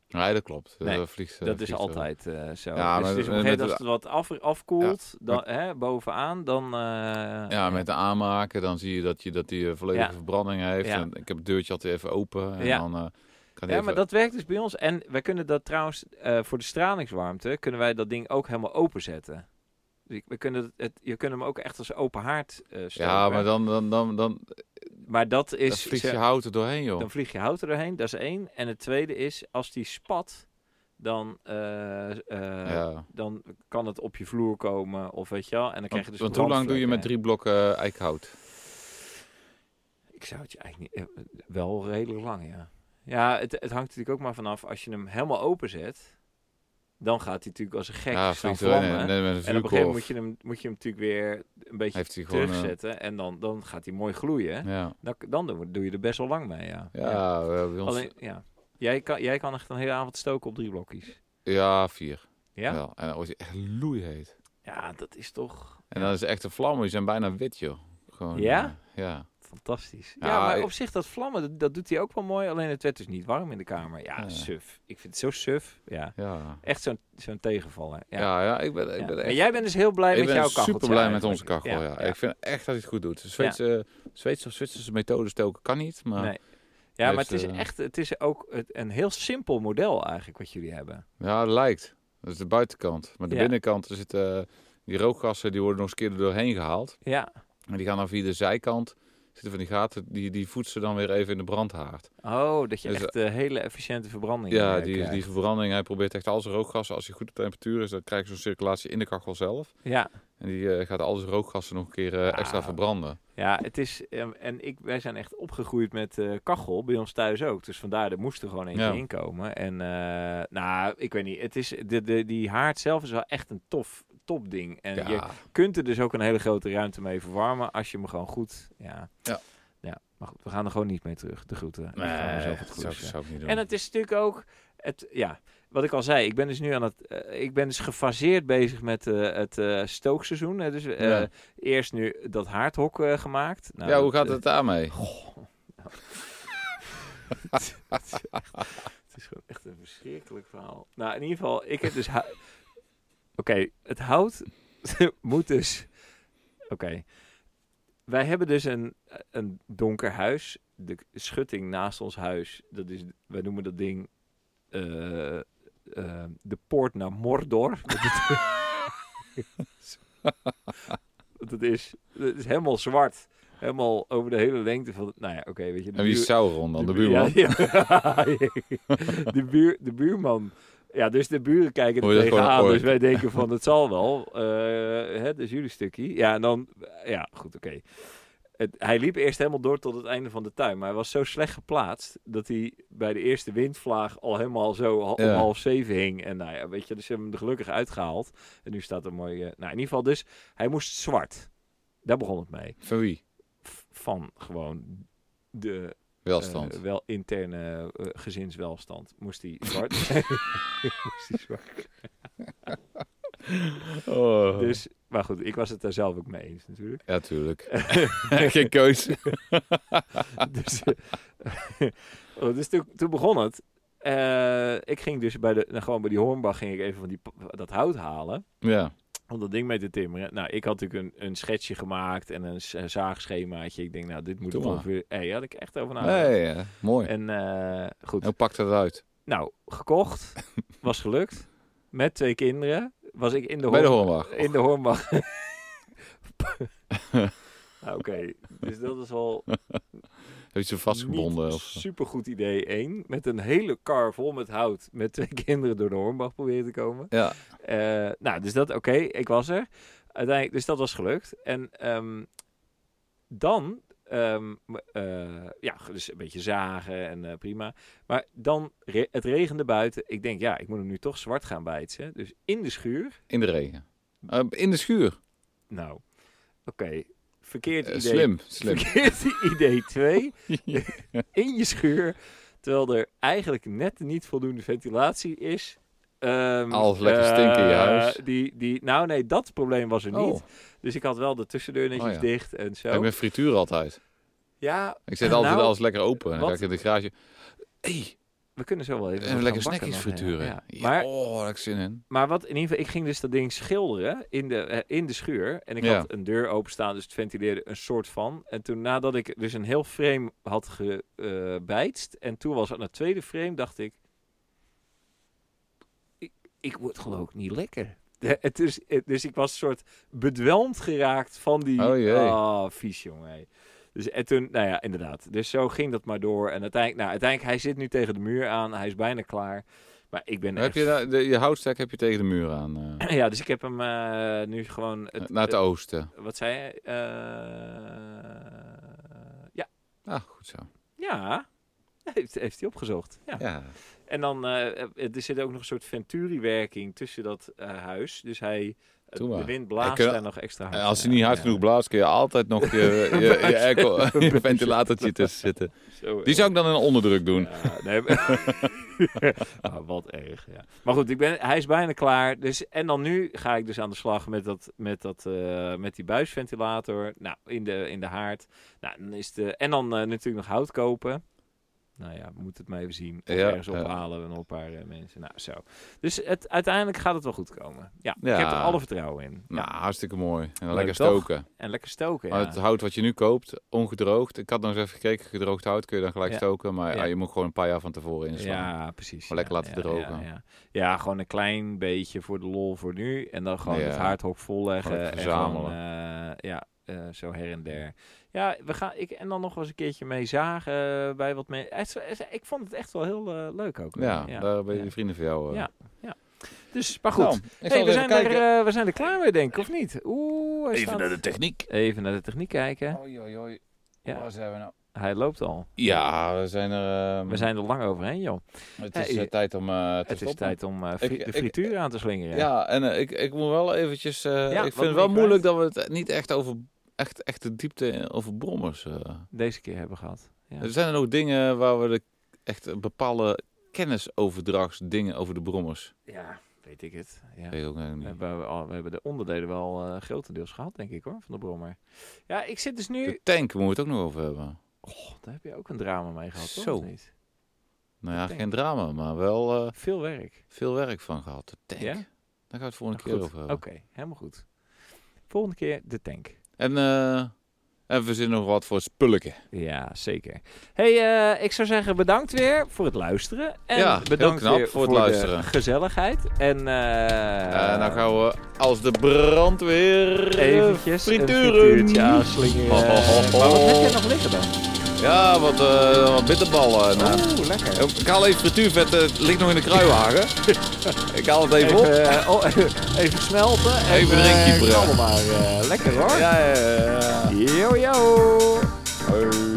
Speaker 1: nee, dat klopt.
Speaker 2: Nee,
Speaker 1: dat vliegt, eh,
Speaker 2: Dat is
Speaker 1: vliegt wel.
Speaker 2: altijd eh, zo.
Speaker 1: Ja,
Speaker 2: dus
Speaker 1: maar
Speaker 2: het is op een
Speaker 1: met-
Speaker 2: gegeven moment
Speaker 1: met-
Speaker 2: als het wat af, afkoelt, dan, hè, bovenaan, dan... eh,
Speaker 1: Ja, met de aanmaken, dan zie je dat hij dat die eh, volledige
Speaker 2: Ja.
Speaker 1: verbranding heeft.
Speaker 2: Ja.
Speaker 1: En ik heb het deurtje altijd even open. En
Speaker 2: Ja.
Speaker 1: dan eh, kan hij
Speaker 2: Ja,
Speaker 1: even...
Speaker 2: maar dat werkt dus bij ons. En wij kunnen dat trouwens, eh, voor de stralingswarmte, kunnen wij dat ding ook helemaal openzetten. Dus ik- we kunnen het, het- je kunt hem ook echt als open haard eh stoken.
Speaker 1: ja, maar dan, dan, dan, dan,
Speaker 2: Maar dat
Speaker 1: dan
Speaker 2: is...
Speaker 1: vliegt
Speaker 2: ze-
Speaker 1: je hout er doorheen, joh.
Speaker 2: dan vlieg je hout er doorheen, dat is één. En het tweede is, als die spat, dan, eh, eh,
Speaker 1: ja.
Speaker 2: dan kan het op je vloer komen of weet je wel. En dan
Speaker 1: Want,
Speaker 2: krijg je dus
Speaker 1: want hoe lang doe je met
Speaker 2: brandvlekken.
Speaker 1: drie blokken eh, eikhout?
Speaker 2: Ik zou het je eigenlijk niet... eh, Wel redelijk lang, ja. Ja, het, het hangt natuurlijk ook maar vanaf. Als je hem helemaal openzet, dan gaat hij natuurlijk als een gek
Speaker 1: Ja,
Speaker 2: staan
Speaker 1: vliegt eh, er doorheen.
Speaker 2: vlammen.
Speaker 1: en- en met een
Speaker 2: en op een gegeven moment moet
Speaker 1: vuurkorf
Speaker 2: je hem, moet je hem natuurlijk weer een beetje
Speaker 1: heeft hij gewoon... eh,
Speaker 2: terugzetten. en dan, dan gaat hij mooi gloeien.
Speaker 1: ja,
Speaker 2: Dan, dan doe, doe je er best wel lang mee, ja.
Speaker 1: ja, eh, bij ons,
Speaker 2: Alleen, ja. Jij, kan, jij kan echt een hele avond stoken op drie blokjes.
Speaker 1: ja vier.
Speaker 2: Ja? Ja,
Speaker 1: Wel. En dan wordt hij echt loeiheet.
Speaker 2: dat is toch
Speaker 1: En dan is het echt een vlam, die zijn bijna wit, joh. Gewoon,
Speaker 2: Ja?
Speaker 1: eh, ja.
Speaker 2: fantastisch. Ja,
Speaker 1: Ja,
Speaker 2: maar
Speaker 1: Ah, ik-
Speaker 2: op zich, dat vlammen, dat, dat doet hij ook wel mooi. Alleen het werd dus niet warm in de kamer. Ja,
Speaker 1: Ja.
Speaker 2: suf. Ik vind het zo suf. Ja.
Speaker 1: Ja.
Speaker 2: Echt zo'n zo'n tegenvaller. Ja.
Speaker 1: Ja, ja, ik ben, ik
Speaker 2: Ja.
Speaker 1: ben
Speaker 2: Maar
Speaker 1: echt...
Speaker 2: jij bent dus heel blij
Speaker 1: ik
Speaker 2: met jouw
Speaker 1: ben
Speaker 2: kachel.
Speaker 1: super blij met onze kachel. Ja,
Speaker 2: ja.
Speaker 1: Ik vind echt dat hij het goed doet. Zweedse, Zweedse of Zwitserse methode stoken kan niet. Maar
Speaker 2: Nee. Ja, maar het is
Speaker 1: nou, Heeft, eh,
Speaker 2: echt, het is ook het- een heel simpel model eigenlijk wat jullie hebben.
Speaker 1: ja, het lijkt. Dat is de buitenkant. Maar de
Speaker 2: Ja.
Speaker 1: binnenkant er zitten eh, die rookgassen die worden nog eens een keer er doorheen gehaald.
Speaker 2: Ja,
Speaker 1: En die gaan dan via de zijkant, zitten van die gaten, die, die voedt ze dan weer even in de brandhaard.
Speaker 2: Oh, dat je
Speaker 1: Dus,
Speaker 2: echt eh, hele efficiënte verbranding
Speaker 1: Ja,
Speaker 2: eh,
Speaker 1: die,
Speaker 2: krijgt.
Speaker 1: die verbranding, hij probeert echt al zijn rookgassen, als hij goed op temperatuur is, dan krijg je zo'n circulatie in de kachel zelf.
Speaker 2: Ja.
Speaker 1: En die eh, gaat al zijn rookgassen nog een keer eh, extra
Speaker 2: Ah.
Speaker 1: verbranden.
Speaker 2: Ja, het is. ehm, en ik, wij zijn echt opgegroeid met eh, kachel, bij ons thuis ook. Dus vandaar, er moest er gewoon eentje
Speaker 1: Ja.
Speaker 2: inkomen. En eh, nou, ik weet niet. Het is, de, de, die haard zelf is wel echt een tof, top ding. En je
Speaker 1: Ja,
Speaker 2: kunt er dus ook een hele grote ruimte mee verwarmen als je hem gewoon goed. Ja.
Speaker 1: Ja.
Speaker 2: ja maar goed, we gaan er gewoon niet mee terug, de groeten. Ik
Speaker 1: nee,
Speaker 2: ga mezelf
Speaker 1: dat
Speaker 2: het goeds,
Speaker 1: zou, ik-
Speaker 2: ja.
Speaker 1: zou ik niet doen.
Speaker 2: En het is natuurlijk ook, het, ja, wat ik al zei, ik ben dus nu aan het, eh, ik ben dus gefaseerd bezig met eh, het eh, stookseizoen. Hè, dus eh,
Speaker 1: Ja.
Speaker 2: eerst nu dat haardhok eh, gemaakt. Nou,
Speaker 1: ja, hoe
Speaker 2: dat,
Speaker 1: gaat
Speaker 2: eh,
Speaker 1: het daarmee?
Speaker 2: het is gewoon echt een verschrikkelijk verhaal. Nou, in ieder geval, ik heb dus, hou- oké, het hout moet dus, oké. Wij hebben dus een, een donker huis. De k- schutting naast ons huis, dat is, wij noemen dat ding eh, eh, de poort naar Mordor. Dat het- dat, is, dat is helemaal zwart. Helemaal over de hele lengte van... Nou ja, oké, weet je... de
Speaker 1: En wie is
Speaker 2: buur-
Speaker 1: Sauron dan? De
Speaker 2: buur-
Speaker 1: buurman?
Speaker 2: ja, ja. de, buur, de buurman. Ja, dus de buren kijken
Speaker 1: Hoor je
Speaker 2: er
Speaker 1: dat
Speaker 2: tegenaan.
Speaker 1: gewoon
Speaker 2: Dus wij denken van, het zal wel. Eh hè, dus jullie stukje. Ja, en dan... Ja, goed, oké. Het- Hij liep eerst helemaal door tot het einde van de tuin. Maar hij was zo slecht geplaatst dat hij bij de eerste windvlaag al helemaal zo ha- om
Speaker 1: Ja.
Speaker 2: half zeven hing. En nou ja, weet je, dus ze hebben hem er gelukkig uitgehaald. En nu staat er mooi... eh, nou, in ieder geval dus, hij moest zwart. Daar begon het mee.
Speaker 1: Van wie?
Speaker 2: F- van gewoon de
Speaker 1: Welstand.
Speaker 2: eh, wel interne eh, gezinswelstand. Moest hij zwart. Moest hij zwart.
Speaker 1: oh.
Speaker 2: Dus, maar goed, ik was het daar zelf ook mee eens natuurlijk.
Speaker 1: Ja, tuurlijk. Geen keus.
Speaker 2: dus, eh, oh, dus toen, toen begon het. Eh, ik ging dus bij de, nou, gewoon bij die hornbach ging ik even van die, p- dat hout halen.
Speaker 1: Ja.
Speaker 2: Om dat ding mee te timmeren. Nou, ik had natuurlijk een, een schetsje gemaakt en een s- een zaagschemaatje. Ik denk, nou, dit moet
Speaker 1: Doe maar.
Speaker 2: ongeveer... Hé, had ik echt over nagedacht.
Speaker 1: Nee, ja. mooi.
Speaker 2: En eh, goed,
Speaker 1: Hoe pakt dat uit?
Speaker 2: Nou, gekocht. Was gelukt. Met twee kinderen. Was ik in de,
Speaker 1: Bij de
Speaker 2: hoorn-
Speaker 1: Hornbach.
Speaker 2: In de Hornbach. Nou, Oké, dus dat is al
Speaker 1: Heb je ze vastgebonden? Of...
Speaker 2: super goed idee één. Met een hele kar vol met hout. Met twee kinderen door de Hornbach proberen te komen.
Speaker 1: Ja.
Speaker 2: Eh, nou, dus dat, oké, ik was er. Uiteindelijk, dus dat was gelukt. En ehm, dan, ehm, m- eh, ja, dus een beetje zagen en eh, prima. Maar dan, re- het regende buiten. Ik denk, ja, ik moet hem nu toch zwart gaan bijten. Dus in de schuur.
Speaker 1: In de regen. Eh, in de schuur.
Speaker 2: Nou, oké, verkeerd
Speaker 1: Eh,
Speaker 2: idee.
Speaker 1: slim, slim. Oh,
Speaker 2: Verkeerd idee 2. in je schuur. Terwijl er eigenlijk net niet voldoende ventilatie is. Ehm,
Speaker 1: Alles lekker stinken in je
Speaker 2: eh,
Speaker 1: huis.
Speaker 2: Die, die, nou nee, dat probleem was er
Speaker 1: Oh,
Speaker 2: niet. Dus ik had wel de tussendeur netjes
Speaker 1: Oh ja.
Speaker 2: dicht en zo.
Speaker 1: ik ben frituur altijd.
Speaker 2: Ja,
Speaker 1: Ik zet altijd
Speaker 2: Nou,
Speaker 1: alles lekker open. En dan
Speaker 2: wat-
Speaker 1: ga ik in de garage. hey,
Speaker 2: we kunnen zo wel even wat
Speaker 1: even
Speaker 2: gaan
Speaker 1: lekker
Speaker 2: bakken
Speaker 1: snackjes
Speaker 2: nog, ja.
Speaker 1: frituren.
Speaker 2: Ja.
Speaker 1: Ja,
Speaker 2: Maar,
Speaker 1: Oh, daar heb ik zin in.
Speaker 2: maar wat in ieder geval, ik ging dus dat ding schilderen in de, eh, in de schuur. En ik
Speaker 1: Ja.
Speaker 2: had een deur openstaan, dus het ventileerde een soort van. En toen nadat ik dus een heel frame had gebijtst. en toen was aan het tweede frame, dacht ik... Ik, ik word geloof ik niet lekker. De- het is, het- dus ik was soort bedwelmd geraakt van die...
Speaker 1: Oh jee.
Speaker 2: Ah, vies jongen. hé. Dus en toen, nou ja, inderdaad. Dus zo ging dat maar door. En uiteindelijk, nou, uiteindelijk, hij zit nu tegen de muur aan. Hij is bijna klaar. Maar ik ben
Speaker 1: Heb
Speaker 2: echt
Speaker 1: je, daar- de, je houtstek heb je tegen de muur aan. eh,
Speaker 2: ja, dus ik heb hem eh, nu gewoon. Het,
Speaker 1: naar het
Speaker 2: het-
Speaker 1: oosten.
Speaker 2: wat zei je? Eh, ja.
Speaker 1: Ah, goed zo.
Speaker 2: Ja. Heeft, heeft hij opgezocht. Ja.
Speaker 1: Ja.
Speaker 2: En dan eh, er zit ook nog een soort venturi-werking tussen dat eh, huis. Dus hij.
Speaker 1: Doe
Speaker 2: de
Speaker 1: maar.
Speaker 2: wind blaast
Speaker 1: Ik, eh,
Speaker 2: daar nog extra hard.
Speaker 1: En als hij
Speaker 2: Ja,
Speaker 1: niet hard
Speaker 2: ja.
Speaker 1: genoeg blaast, kun je altijd nog je, je, je, airco- je ventilatortje tussen zitten.
Speaker 2: Zo,
Speaker 1: Die
Speaker 2: eh.
Speaker 1: zou ik dan in onderdruk doen.
Speaker 2: Ja, nee, maar- Maar wat erg, ja. Maar goed, ik ben, hij is bijna klaar. Dus, en dan nu ga ik dus aan de slag met, dat, met, dat, eh, met die buisventilator nou, in, de, in de haard. Nou, dan is de, en dan eh, natuurlijk nog hout kopen. Nou ja, we moeten het maar even zien.
Speaker 1: Ja,
Speaker 2: Of ergens
Speaker 1: ja.
Speaker 2: ophalen en nog een paar eh, mensen. Nou, zo. Dus het, uiteindelijk gaat het wel goed komen. Ja,
Speaker 1: Ja.
Speaker 2: ik heb er alle vertrouwen in. Ja.
Speaker 1: Nou, hartstikke mooi. En dan
Speaker 2: Leuk
Speaker 1: lekker
Speaker 2: toch?
Speaker 1: stoken.
Speaker 2: En lekker stoken,
Speaker 1: Maar
Speaker 2: ja.
Speaker 1: het hout wat je nu koopt, ongedroogd. Ik had nog eens even gekeken, gedroogd hout kun je dan gelijk
Speaker 2: Ja.
Speaker 1: stoken. Maar
Speaker 2: Ja.
Speaker 1: ja, je moet gewoon een paar jaar van tevoren inslaan.
Speaker 2: Ja, precies.
Speaker 1: Maar lekker
Speaker 2: ja,
Speaker 1: laten
Speaker 2: ja,
Speaker 1: drogen.
Speaker 2: Ja, ja. Ja, gewoon een klein beetje voor de lol voor nu. En dan gewoon
Speaker 1: Ja.
Speaker 2: het haardhok volleggen.
Speaker 1: Gewoon even
Speaker 2: en gewoon,
Speaker 1: verzamelen.
Speaker 2: eh, ja, eh, zo her en der. Ja, we gaan, ik, en dan nog wel eens een keertje mee zagen eh, bij wat mensen. Het is- het is- Ik vond het echt wel heel eh, leuk ook.
Speaker 1: Ja, daar ben je
Speaker 2: ja.
Speaker 1: vrienden van jou. eh.
Speaker 2: Ja, Dus, maar goed.
Speaker 1: Nou, ik zal
Speaker 2: hey,
Speaker 1: eens
Speaker 2: we,
Speaker 1: even
Speaker 2: zijn er,
Speaker 1: kijken.
Speaker 2: eh, we zijn er klaar mee, denk ik, of niet? Oeh, hij staat-
Speaker 1: techniek.
Speaker 2: Even naar de techniek kijken.
Speaker 1: Oei, oei, oei.
Speaker 2: Ja.
Speaker 1: Waar zijn we nou?
Speaker 2: Hij loopt al.
Speaker 1: Ja, we zijn er. ehm,
Speaker 2: We zijn er lang overheen, joh.
Speaker 1: Het is
Speaker 2: Hey,
Speaker 1: eh, tijd om eh, te
Speaker 2: Het is
Speaker 1: stoppen.
Speaker 2: tijd om eh, fri-
Speaker 1: Ik-
Speaker 2: de
Speaker 1: ik-
Speaker 2: frituur aan te slingeren.
Speaker 1: Ja, en eh, ik, ik moet wel eventjes... eh,
Speaker 2: wat
Speaker 1: ik
Speaker 2: moet
Speaker 1: vind
Speaker 2: je
Speaker 1: het wel
Speaker 2: kwijt?
Speaker 1: moeilijk dat we het niet echt over... Echt, echt de diepte in- over brommers. eh.
Speaker 2: Deze keer hebben gehad. Ja.
Speaker 1: Er zijn er ook dingen waar we de, echt bepaalde kennisoverdragsdingen over de brommers.
Speaker 2: ja, weet ik het. Ja.
Speaker 1: Weet ik ook
Speaker 2: We
Speaker 1: eigenlijk niet.
Speaker 2: hebben, al- we hebben de onderdelen wel eh, grotendeels gehad, denk ik hoor, van de Brommer. Ja, ik zit dus nu...
Speaker 1: De tank moeten we het ook nog over hebben.
Speaker 2: God, daar heb je ook een drama mee gehad, toch?
Speaker 1: Zo.
Speaker 2: Of niet?
Speaker 1: Nou ja,
Speaker 2: De tank.
Speaker 1: geen drama, maar wel eh,
Speaker 2: Veel werk.
Speaker 1: veel werk van gehad. De tank.
Speaker 2: Ja?
Speaker 1: Daar gaan we het volgende
Speaker 2: Nou,
Speaker 1: keer
Speaker 2: goed.
Speaker 1: over
Speaker 2: Oké,
Speaker 1: hebben.
Speaker 2: helemaal goed. Volgende keer de tank.
Speaker 1: En, eh, en we zien nog wat voor spulken.
Speaker 2: Ja, zeker. hey, eh, ik zou zeggen bedankt weer voor het luisteren. En
Speaker 1: Ja, heel
Speaker 2: bedankt
Speaker 1: knap
Speaker 2: weer
Speaker 1: voor het
Speaker 2: de
Speaker 1: luisteren. nou,
Speaker 2: gezelligheid. En eh
Speaker 1: en dan gaan we als de brandweer... eh,
Speaker 2: eventjes een
Speaker 1: frituren.
Speaker 2: frituurtje aanslingeren.
Speaker 1: Ho, ho, ho, ho.
Speaker 2: Maar wat heb jij nog liggen dan?
Speaker 1: Ja, wat, eh, wat bitterballen. En, eh,
Speaker 2: Oeh, lekker.
Speaker 1: Ik haal even frituurvet, eh, het ligt nog in de kruiwagen. ik haal het even,
Speaker 2: Even,
Speaker 1: op.
Speaker 2: eh, oh, even smelten. en,
Speaker 1: Even een drinkje
Speaker 2: eh,
Speaker 1: brengen.
Speaker 2: knallen maar. eh, lekker hoor.
Speaker 1: Ja, ja, ja.
Speaker 2: Yo, yo.
Speaker 1: Hoi.